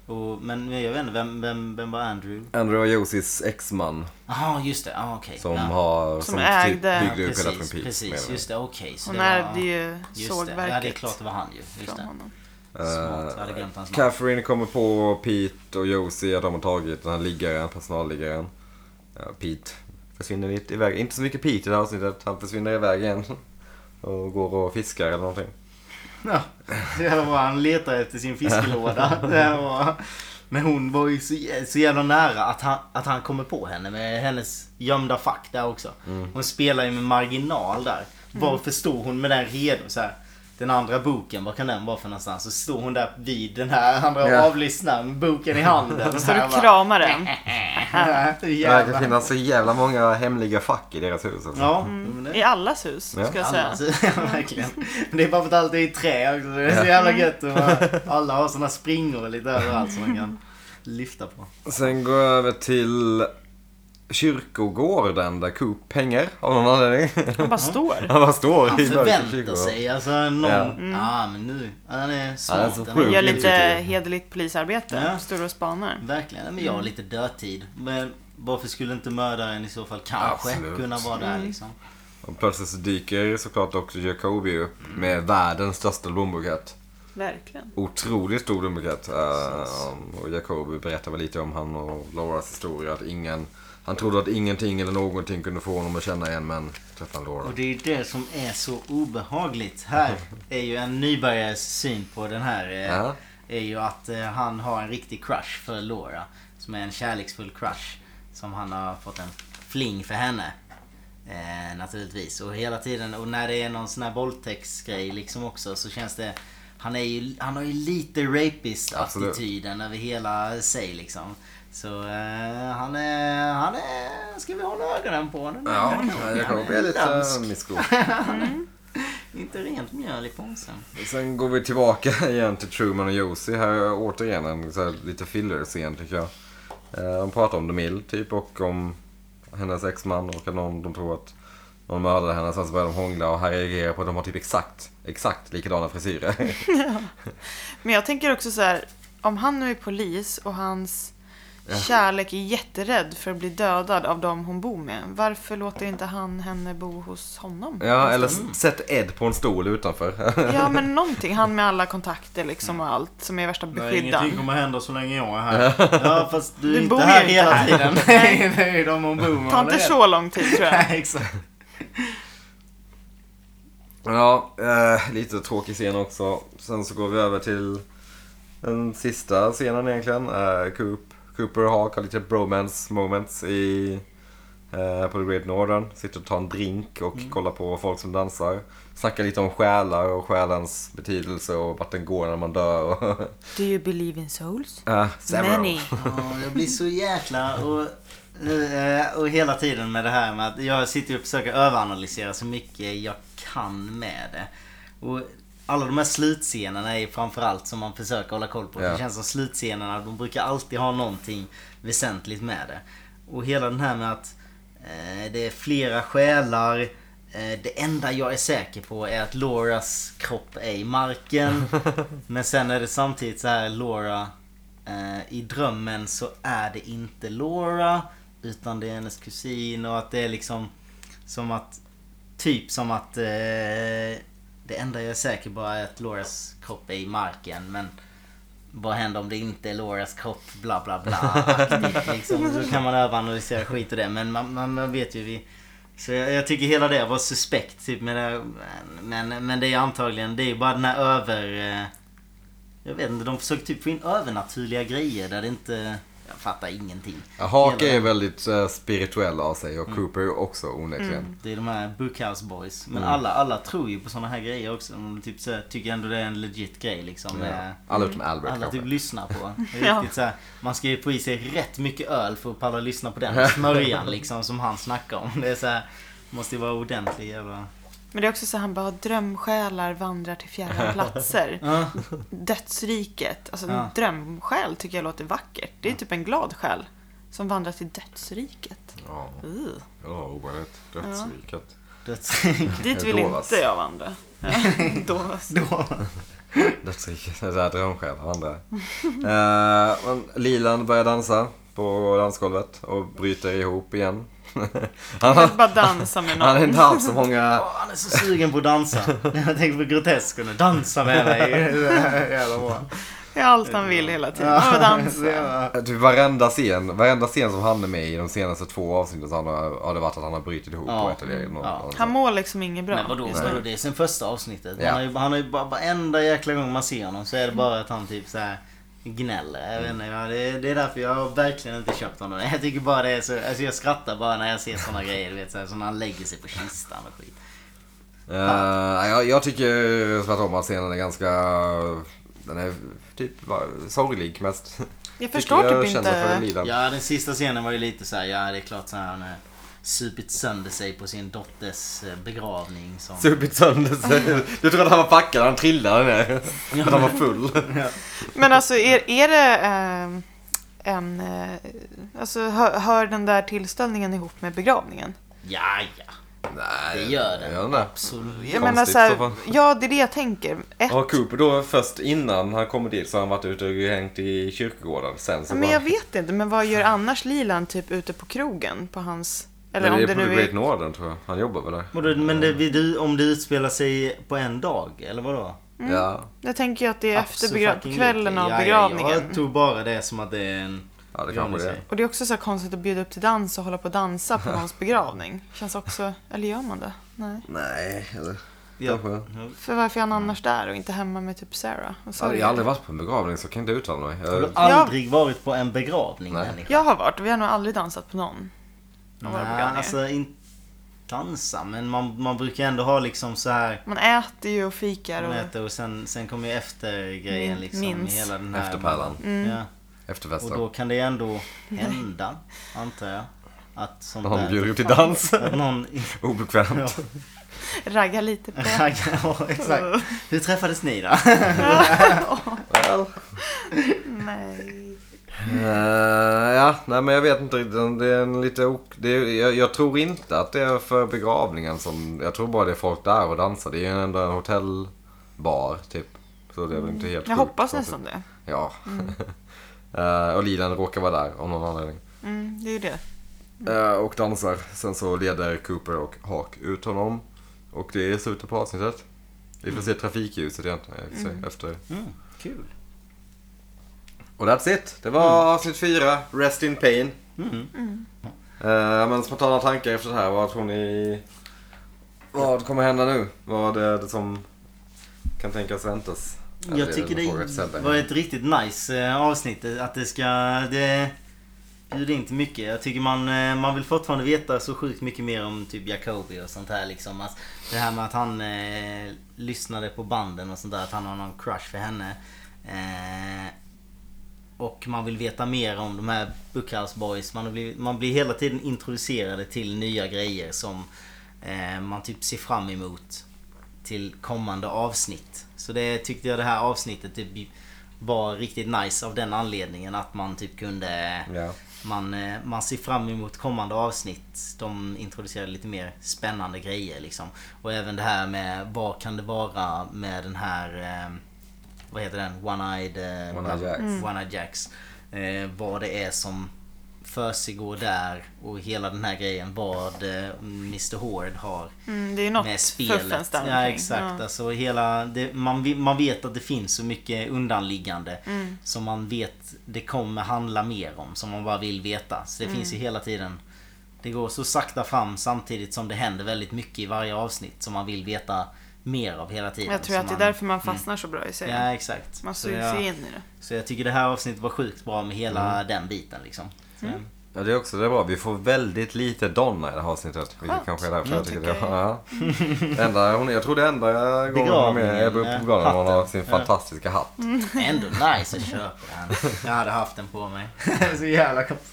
S1: Och, men jag vet inte, vem, vem, vem var Andrew?
S2: Andrew och Josies exman
S1: Jaha, just det. Ah, okej.
S2: som
S1: ja.
S2: har...
S3: Som ägde-
S2: Typ byggde upp hela
S1: Precis,
S2: Twin Peaks. menar
S1: precis.
S2: jag.
S1: Just det, okej. så
S3: Hon
S1: det var-
S3: ärvde ju
S1: Just det. Ja, det är
S3: sågverket
S1: klart det var han ju. Just
S3: från
S1: det.
S3: honom.
S2: Eh,
S1: Smart. Jag hade glömt hans namn.
S2: Catherine kommer på Pete och Josie att de har tagit den här liggaren, personalliggaren. Ja, Pete försvinner lite iväg. Inte så mycket Pete i det här avsnittet. Han försvinner iväg igen. Och går och fiskar eller någonting.
S1: Ja, så jävla bra. Han letar efter sin fiskelåda. Det här var... Men hon var ju så, jä- så jävla nära att han, att han kommer på henne med hennes gömda fack där också. Hon spelar ju med marginal där. Varför står hon med den redo så här? Den andra boken, vad kan den vara för någonstans? Så står hon där vid den här andra
S2: Ja.
S1: avlyssnaren, boken i handen.
S3: Så du kramar den.
S2: Det verkar finnas så jävla många hemliga fack i deras hus. Alltså.
S1: Ja, men det-
S3: I allas hus,
S2: Ja.
S3: ska jag säga.
S1: Annars, [LAUGHS] ja, verkligen. Men Det är bara för att allt är i trä också. Det är så jävla gött. Och bara, alla har såna springor lite överallt som man kan lyfta på.
S2: Sen går jag över till kyrkogården där Coop hänger av någon anledning. [LAUGHS]
S3: Han bara står.
S2: Han bara står
S1: Han
S2: i mörker
S1: förväntar
S2: kyrkogård.
S1: sig alltså någon...
S2: Ja.
S1: Ja,
S3: Mm.
S1: men nu. Han är smart.
S2: Han är så
S1: den
S2: sjuk.
S3: Gör
S2: Jag
S3: lite
S2: tycker det.
S3: hederligt polisarbete.
S1: Ja.
S3: Står och spanar.
S1: Verkligen. Ja, Men
S3: Mm.
S1: jag har lite dödtid. Men varför skulle inte mördaren i så fall kanske
S2: Absolut.
S1: kunna vara där liksom?
S2: Och plötsligt så dyker såklart också Jacobi upp med världens största blombukett.
S3: Verkligen.
S2: Otroligt stor blombukett. Eh, och Jacobi berättar väl lite om han och Lauras historia. Att ingen, han trodde att ingenting eller någonting kunde få honom att känna igen men träffade han Laura.
S1: Och det är ju det som är så obehagligt.
S2: [LAUGHS]
S1: Här är ju en nybörjares syn på den här. Eh,
S2: Ja.
S1: Är ju att eh, han har en riktig crush för Laura. Som är en kärleksfull crush. Som han har fått en fling för henne. Eh, naturligtvis. Och hela tiden, och när det är någon sån här våldtäktsgrej liksom också så känns det... Han, är ju, han har ju lite
S2: Absolut.
S1: rapist-attityden över hela sig liksom. Så eh, han är... Han är... Ska vi hålla ögonen på honom?
S2: Ja, Jacobi är lite eh,
S1: Lömsk.
S2: misskod.
S1: Inte rent mjöl i påsen.
S2: Sen går vi tillbaka [LAUGHS] igen till Truman och Josie. Här är återigen en så här, lite filler-scen tycker jag. Eh, De pratar om Demille typ och om hennes exman och att någon, de tror att någon mördade henne. Sen så börjar de hångla och här reagerar på att de har typ exakt, exakt likadana frisyrer. [LAUGHS]
S3: Men jag tänker också så här. Om han nu är polis och hans kärlek är jätterädd för att bli dödad av dem hon bor med. Varför låter inte han henne bo hos honom?
S2: ja, eller s- sätt Ed på en stol utanför. [LAUGHS]
S3: Ja men någonting. Han med alla kontakter liksom och allt som är värsta beskyddaren.
S1: kommer hända så länge jag är här. Ja, fast du,
S3: Du
S1: är inte
S3: bor
S1: här
S3: ju
S1: hela
S3: inte
S1: tiden. Nej, [LAUGHS] det är ju de hon bor med.
S3: Ta inte så lång tid tror
S1: [LAUGHS]
S3: jag.
S1: Nej, exakt.
S2: Ja, eh, lite tråkig scen också. Sen så går vi över till den sista scenen egentligen. Eh, Coop, Cooper och Hawk har lite bromance moments i, eh, på The Great Northern. Sitter och tar en drink och
S1: Mm.
S2: kollar på folk som dansar. Snackar lite om själar och själens betydelse och vart den går när man dör. Och, [LAUGHS]
S3: Do you believe in souls?
S2: eh, several.
S3: Many.
S1: Ja, jag blir så jäkla... Och, eh, och hela tiden med det här med att jag sitter och försöker överanalysera så mycket jag kan med det. Och alla de här slutscenerna är framförallt som man försöker hålla koll på.
S2: Ja.
S1: Det känns som slutscenerna, de brukar alltid ha någonting väsentligt med det. Och hela den här med att eh, det är flera själar. Eh, det enda jag är säker på är att Lauras kropp är i marken. [LAUGHS] Men sen är det samtidigt så här Laura eh, I drömmen så är det inte Laura Utan det är hennes kusin och att det är liksom Som att Typ som att eh, Det enda jag är säker på är att Lauras kropp är i marken men vad händer om det inte är Lauras kropp? Bla bla bla. aktivt, liksom. Så kan man överanalysera skit och det. Men man, man, man vet ju vi... Så jag, jag tycker hela det var suspekt. Typ, med det, men, men det är antagligen... Det är ju bara den här över... eh, jag vet inte, de försöker typ få in övernaturliga grejer där det inte... Jag fattar ingenting.
S2: Ja, Hake
S1: Hela- Mm.
S2: är väldigt eh, spirituell av sig och Cooper också onekligen.
S1: Det är de här Bookhouse Boys. Men alla, alla tror ju på sådana här grejer också. De typ så här, tycker ändå det är en legit grej liksom.
S2: Ja.
S1: Eh,
S2: Alla utom Albert
S1: Alla
S2: kanske.
S1: typ lyssnar [LAUGHS] på. Det är
S3: Ja.
S1: Riktigt så här, man ska ju få i sig rätt mycket öl för att palla lyssna på den smörjan liksom som han snackar om. Det är så här, måste ju vara ordentlig jävla...
S3: Men det är också så han bara drömsjälar vandrar till
S2: [LAUGHS]
S3: fjärran platser.
S1: Ja.
S3: Dödsriket. Alltså
S1: Ja.
S3: drömsjäl tycker jag låter vackert. Det är typ en glad själ som vandrar till dödsriket.
S2: Ja,
S3: Uh.
S2: ja ovanligt. Dödsriket.
S1: Döds-
S3: Dit vill
S2: Dovas.
S3: inte jag vandra.
S2: [LAUGHS]
S3: Ja, Dovas.
S1: Då.
S2: Dödsriket, det är drömskäl av andra. [LAUGHS] Eh, men Lilan börjar dansa på dansgolvet och bryter ihop igen. [LAUGHS] han,
S3: Jag
S2: har,
S3: vill bara dansa med
S2: han har
S3: någon.
S2: inte haft så många...
S1: Åh, han är så sugen på att dansa. Jag tänker på grotesk och nu, dansa med [LAUGHS] dig. Jävla bra.
S3: Det är allt han vill hela tiden. Och dansa.
S1: Ja.
S2: Typ varenda scen, varenda scen som han är med i de senaste två avsnitten så han har, har det varit att han har brutit ihop
S1: Ja.
S2: på ett eller något.
S1: Ja.
S3: Han mår liksom inget bra.
S1: Men vadå,
S3: just
S1: vadå,
S3: nu.
S1: det är sen första avsnittet.
S2: Ja.
S1: Han har ju, han har ju bara, varenda jäkla gång man ser honom så är det bara att han typ så här gnäller. Jag vet inte, ja, det, det är därför jag har verkligen inte köpt honom. Jag tycker bara det är så, alltså jag skrattar bara när jag ser såna grejer. Du vet, så här, som när han lägger sig på kistan och skit.
S2: Eh, jag, jag tycker tvärtom att scenen är ganska... Den är typ bara sorglig mest.
S3: Jag förstår
S2: Tycker jag
S3: typ
S2: känner för
S3: inte.
S2: Lilan.
S1: Ja, den sista scenen var ju lite så här, ja det är klart så här han har supit sönder sig på sin dotters eh, begravning. Som...
S2: Supit sönder sig. Du trodde han var packad, han trillade ner. Men han
S1: [LAUGHS]
S2: var full.
S3: Men alltså är, är det eh, en... Eh, alltså hör, hör den där tillställningen ihop med begravningen?
S1: Ja, ja.
S2: Nej,
S1: Det gör den.
S2: Gör den det?
S1: Absolut.
S3: Jag menar
S2: Konstigt
S3: så
S2: i så
S3: här,
S2: fall.
S3: alltså, Ja, det är det jag tänker. Ett,
S2: Har Cooper då först innan han kommer dit så har han varit ute och hängt i kyrkogården sen så
S3: men jag vet inte. Men vad gör annars Lilan typ ute på krogen på hans... Eller
S2: Men
S3: om
S2: det
S3: det
S2: är på
S3: nu
S2: Great
S3: är...
S2: Northern tror jag. Han jobbar väl där?
S1: Vadå, Men det, vill du- om det utspelar sig på en dag, eller vadå?
S3: Mm.
S2: Ja.
S3: Jag tänker ju att det är efter
S1: Absolut
S3: begra-
S1: fucking
S3: kvällen
S1: inte.
S3: av
S1: Ja, ja,
S3: begravningen.
S1: Jag tog bara det som att det är en...
S2: Ja, det kanske det är.
S3: Och det är också så här konstigt att bjuda upp till dans och hålla på och dansa
S2: [LAUGHS]
S3: på någons begravning. Känns också... Eller gör man det? Nej.
S2: Nej, eller
S1: Ja.
S2: kanske.
S3: För varför är han annars där och inte hemma med typ Sarah? Och
S2: Jag har
S3: Sawyer?
S2: ju aldrig varit på en begravning så jag kan inte uttala mig.
S1: Har du
S2: Jag,
S1: aldrig varit på en begravning
S2: Nej.
S1: människa?
S3: Jag har varit och vi har nog aldrig dansat på någon. av våra
S1: Nej,
S3: begravningar.
S1: alltså inte dansa, men man, man brukar ändå ha liksom så här
S3: Man äter ju och fikar
S1: man
S3: och...
S1: äter och sen, sen kommer ju eftergrejen
S3: Min-
S1: liksom.
S3: minns. Mm.
S1: Hela den här,
S2: Efterpärlan.
S1: Ja, och då
S2: efterfesten.
S1: kan det
S3: [LAUGHS]
S1: ändå hända, antar jag. Att sånt
S2: Han
S1: där...
S2: bjuder upp till
S1: [LAUGHS]
S2: dans.
S1: Att någon... [LAUGHS] Ja,
S2: Obekvämt.
S3: Ragga lite på...
S1: [LAUGHS] ja,
S3: [LAUGHS]
S1: exakt. Hur träffades ni då?
S3: Mm.
S2: Well.
S3: Nej.
S2: Eh, ja, nej men jag vet inte riktigt. Det är en lite ok- det är, jag, jag tror inte att det är för begravningen som... Jag tror bara det är folk där och dansar. Det är ju ändå en hotellbar typ. Så det är väl inte helt
S3: Jag
S2: sjukt,
S3: hoppas
S2: så att-
S3: nästan Mm. det.
S2: Ja. [LAUGHS] Eh, och Lilan råkar vara där av någon anledning.
S3: Mm, det är ju det.
S2: Eh, och dansar. Sen så leder Cooper och Hawk ut honom. Och det är slutet på avsnittet. Vi får se trafikljuset egentligen i och för sig, efter.
S1: [LAUGHS] Mm, kul.
S2: Och that's it. Det var
S3: Mm.
S2: avsnitt fyra. Rest in pain.
S1: Mm.
S2: Eh, men spontana tankar efter det här. Vad tror ni? Vad kommer hända nu? Vad är det som kan tänkas väntas? Eller
S1: Alltså, Jag tycker
S2: en fråga till
S1: det
S2: Sebbe.
S1: var ett riktigt nice eh, avsnitt. eh, Att det ska... Det bjuder inte mycket. Jag tycker man, eh, man vill fortfarande veta så sjukt mycket mer om typ Jacobi och sånt här liksom. Alltså, det här med att han eh, lyssnade på banden och sånt där. Att han har någon crush för henne. Eh, och man vill veta mer om de här Bookhouse Boys. Man blir, man blir hela tiden introducerade till nya grejer som eh, man typ ser fram emot. till kommande avsnitt. Så det tyckte jag det här avsnittet typ var riktigt nice av den anledningen att man typ kunde...
S2: Ja.
S1: Man, eh, man ser fram emot kommande avsnitt. De introducerar lite mer spännande grejer liksom. Och även det här med vad kan det vara med den här... eh, Vad heter den? One-Eyed... eh,
S2: One-Eyed Jacks.
S3: Mm.
S1: One-Eyed Jacks. Eh, vad det är som försiggår där och hela den här grejen. Vad eh, Mr Hård har
S3: Mm, det är ju något
S1: med
S3: fuffens
S1: spelet.
S3: där
S1: Ja
S3: omkring.
S1: exakt.
S3: Ja.
S1: Alltså, hela, det, man, vi- man vet att det finns så mycket undanliggande.
S3: Mm.
S1: Som man vet det kommer handla mer om. Som man bara vill veta. Så det finns ju
S3: Mm.
S1: hela tiden. Det går så sakta fram samtidigt som det händer väldigt mycket i varje avsnitt. Som man vill veta mer av hela tiden.
S3: Jag tror
S1: Så
S3: att det är
S1: man- Mm.
S3: därför man fastnar så bra i serien.
S1: Ja exakt.
S3: Man
S1: Så
S3: sugs
S1: jag-
S3: ju in i det.
S1: Så jag tycker det här avsnittet var sjukt bra med hela
S2: Mm.
S1: den biten liksom. Så-
S3: Mm.
S2: Ja, det är också det är bra. Vi får väldigt lite Donna i det här avsnittet. Vilket
S3: Skönt.
S2: kanske är därför jag tycker det.
S3: tycker jag.
S2: Ja. Enda, hon, jag tror det enda gången hon är med är på
S1: Begravningen,
S2: begravningen. Hon har
S1: hatten.
S2: sin fantastiska hatt.
S1: Ändå nice att köpa
S2: [LAUGHS]
S1: den. Jag hade haft den på mig. [LAUGHS] så jävla konstigt.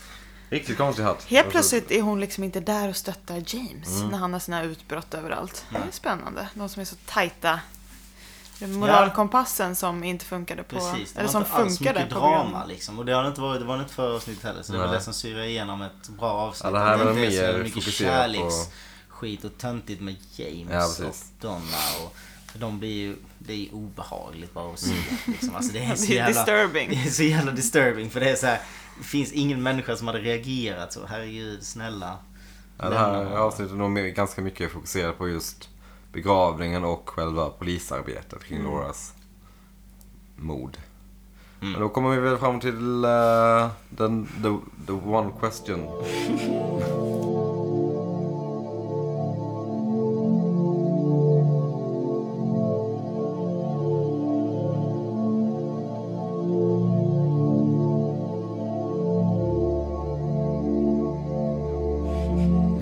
S2: Riktigt konstig hatt.
S3: Helt plötsligt är hon liksom inte där och stöttar James
S1: Mm.
S3: när han har sina utbrott överallt. Det är spännande. De som är så tajta. Moralkompassen som inte funkade på...
S1: Precis, det
S3: eller
S1: var
S3: som
S1: inte alls
S3: funkade
S1: mycket
S3: på
S1: drama
S3: programmet.
S1: liksom. Och det har det inte varit, det var inte förra avsnittet heller. Så det var
S2: Nej.
S1: det som syrar igenom ett bra avsnitt.
S2: Ja, det här var
S1: inte är så
S2: mer
S1: jävla mycket
S2: fokuserat på-
S1: kärleksskit och töntigt med
S2: Ja,
S1: James och
S2: precis.
S1: Donna. Och, för de blir ju, det är ju obehagligt bara att se.
S2: Mm.
S1: Liksom. Alltså,
S3: [LAUGHS]
S1: det är så
S3: Det är
S1: jävla... [LAUGHS]
S3: disturbing.
S1: Det är så jävla disturbing. För det är så här, det finns ingen människa som hade reagerat så. Herregud, snälla.
S2: Ja, det
S1: lämna
S2: här
S1: honom.
S2: avsnittet är nog mer- ganska mycket fokuserat på just begravningen och själva polisarbetet kring Lauras mord. Men då kommer vi väl fram till eh, den, the, the one question.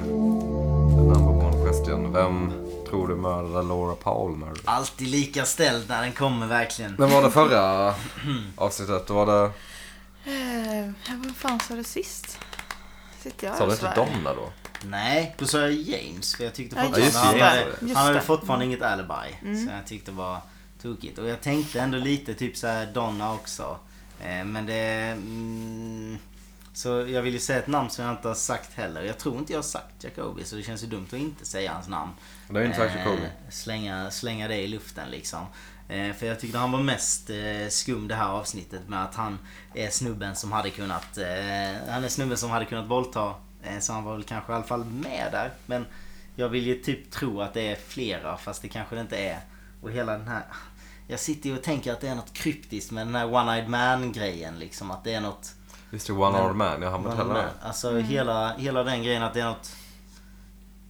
S2: Number one question. Vem tror du mördade Laura Palmer?
S1: Alltid lika ställd när den kommer verkligen.
S2: Vem var det förra [CLEARS THROAT] avsnittet? Då var det...
S3: Eh, vad fan sa du sist? Sitter jag
S2: Sa
S3: och
S2: du inte
S3: svär?
S2: Donna då?
S1: Nej, då sa jag James. För jag tyckte
S3: Ja,
S1: fortfarande
S2: just det,
S1: han,
S2: just
S1: hade,
S2: det. Mm.
S3: Just
S1: han hade
S3: det.
S1: fortfarande inget alibi. Så jag tyckte det var tokigt. Och jag tänkte ändå lite typ så här Donna också. Eh, Men det... Mm, så jag vill ju säga ett namn som jag inte har sagt heller. Jag tror inte jag har sagt Jacobi så det känns ju dumt att inte säga hans namn.
S2: Du har ju inte sagt
S1: Eh,
S2: Jacobi.
S1: Slänga, slänga det i luften liksom. Eh, För jag tyckte han var mest eh, skum det här avsnittet med att han är snubben som hade kunnat... eh, Han är snubben som hade kunnat våldta. eh, Så han var väl kanske i alla fall med där. Men jag vill ju typ tro att det är flera fast det kanske det inte är. Och hela den här... Jag sitter ju och tänker att det är något kryptiskt med den här One-Eyed Man grejen liksom. Att det är något...
S2: Visst är det One Armed Man? Jag har inte heller
S1: Man-
S2: det.
S1: Alltså
S3: Mm.
S1: hela, hela den grejen att det är något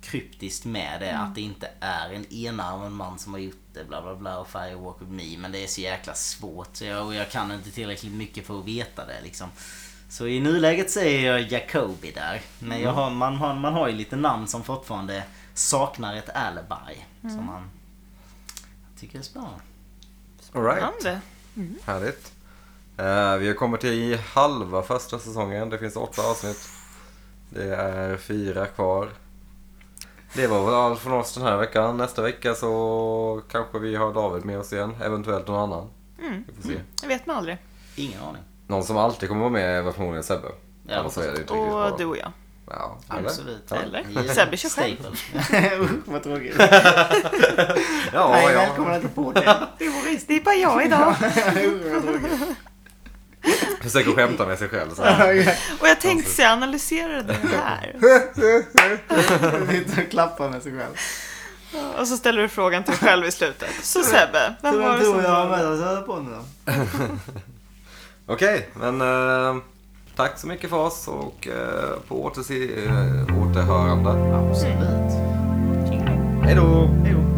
S1: kryptiskt med det.
S3: Mm.
S1: Att det inte är en enarmad man som har gjort det. Bla bla bla och Fire Walk With Me. Men det är så jäkla svårt. Så jag, och jag kan inte tillräckligt mycket för att veta det liksom. Så i nuläget säger jag Jacobi där. Men
S3: Mm.
S1: jag har, man, har, man har ju lite namn som fortfarande saknar ett alibi.
S3: Mm.
S1: Som man tycker är spännande.
S2: Alright.
S3: Spännande.
S2: Härligt. Eh, vi har kommit till halva första säsongen. Det finns åtta avsnitt. Det är fyra kvar. Det var väl allt från oss den här veckan. Nästa vecka så kanske vi har David med oss igen. Eventuellt någon annan.
S1: Mm.
S2: Vi får se.
S3: Det vet man aldrig.
S1: Ingen aning.
S2: Någon som alltid kommer vara med är förmodligen Sebbe.
S1: Ja,
S2: Annars så är det inte riktigt bra.
S3: Och du och jag.
S2: Ja, eller?
S1: Absolut.
S2: Ja.
S3: Eller?
S1: Ja.
S3: Sebbe kör själv.
S1: [LAUGHS] Staple. Usch vad tråkigt.
S2: Ja,
S1: Nej,
S2: ja.
S1: välkomna till podden.
S3: Det är Boris, det är bara jag idag.
S2: Försöker skämta med sig själv. Så här.
S3: Och jag tänkte så jag analyserade det här.
S1: [LAUGHS] Sitter och klappar med sig själv.
S3: Och så ställer du frågan till dig själv i slutet. Så Sebbe, vem var det som...
S1: oss höra på nu då?
S2: Okej, men eh, tack så mycket för oss och eh, på återse- eh, återhörande.
S1: Absolut.
S2: Hej då!
S1: Jo.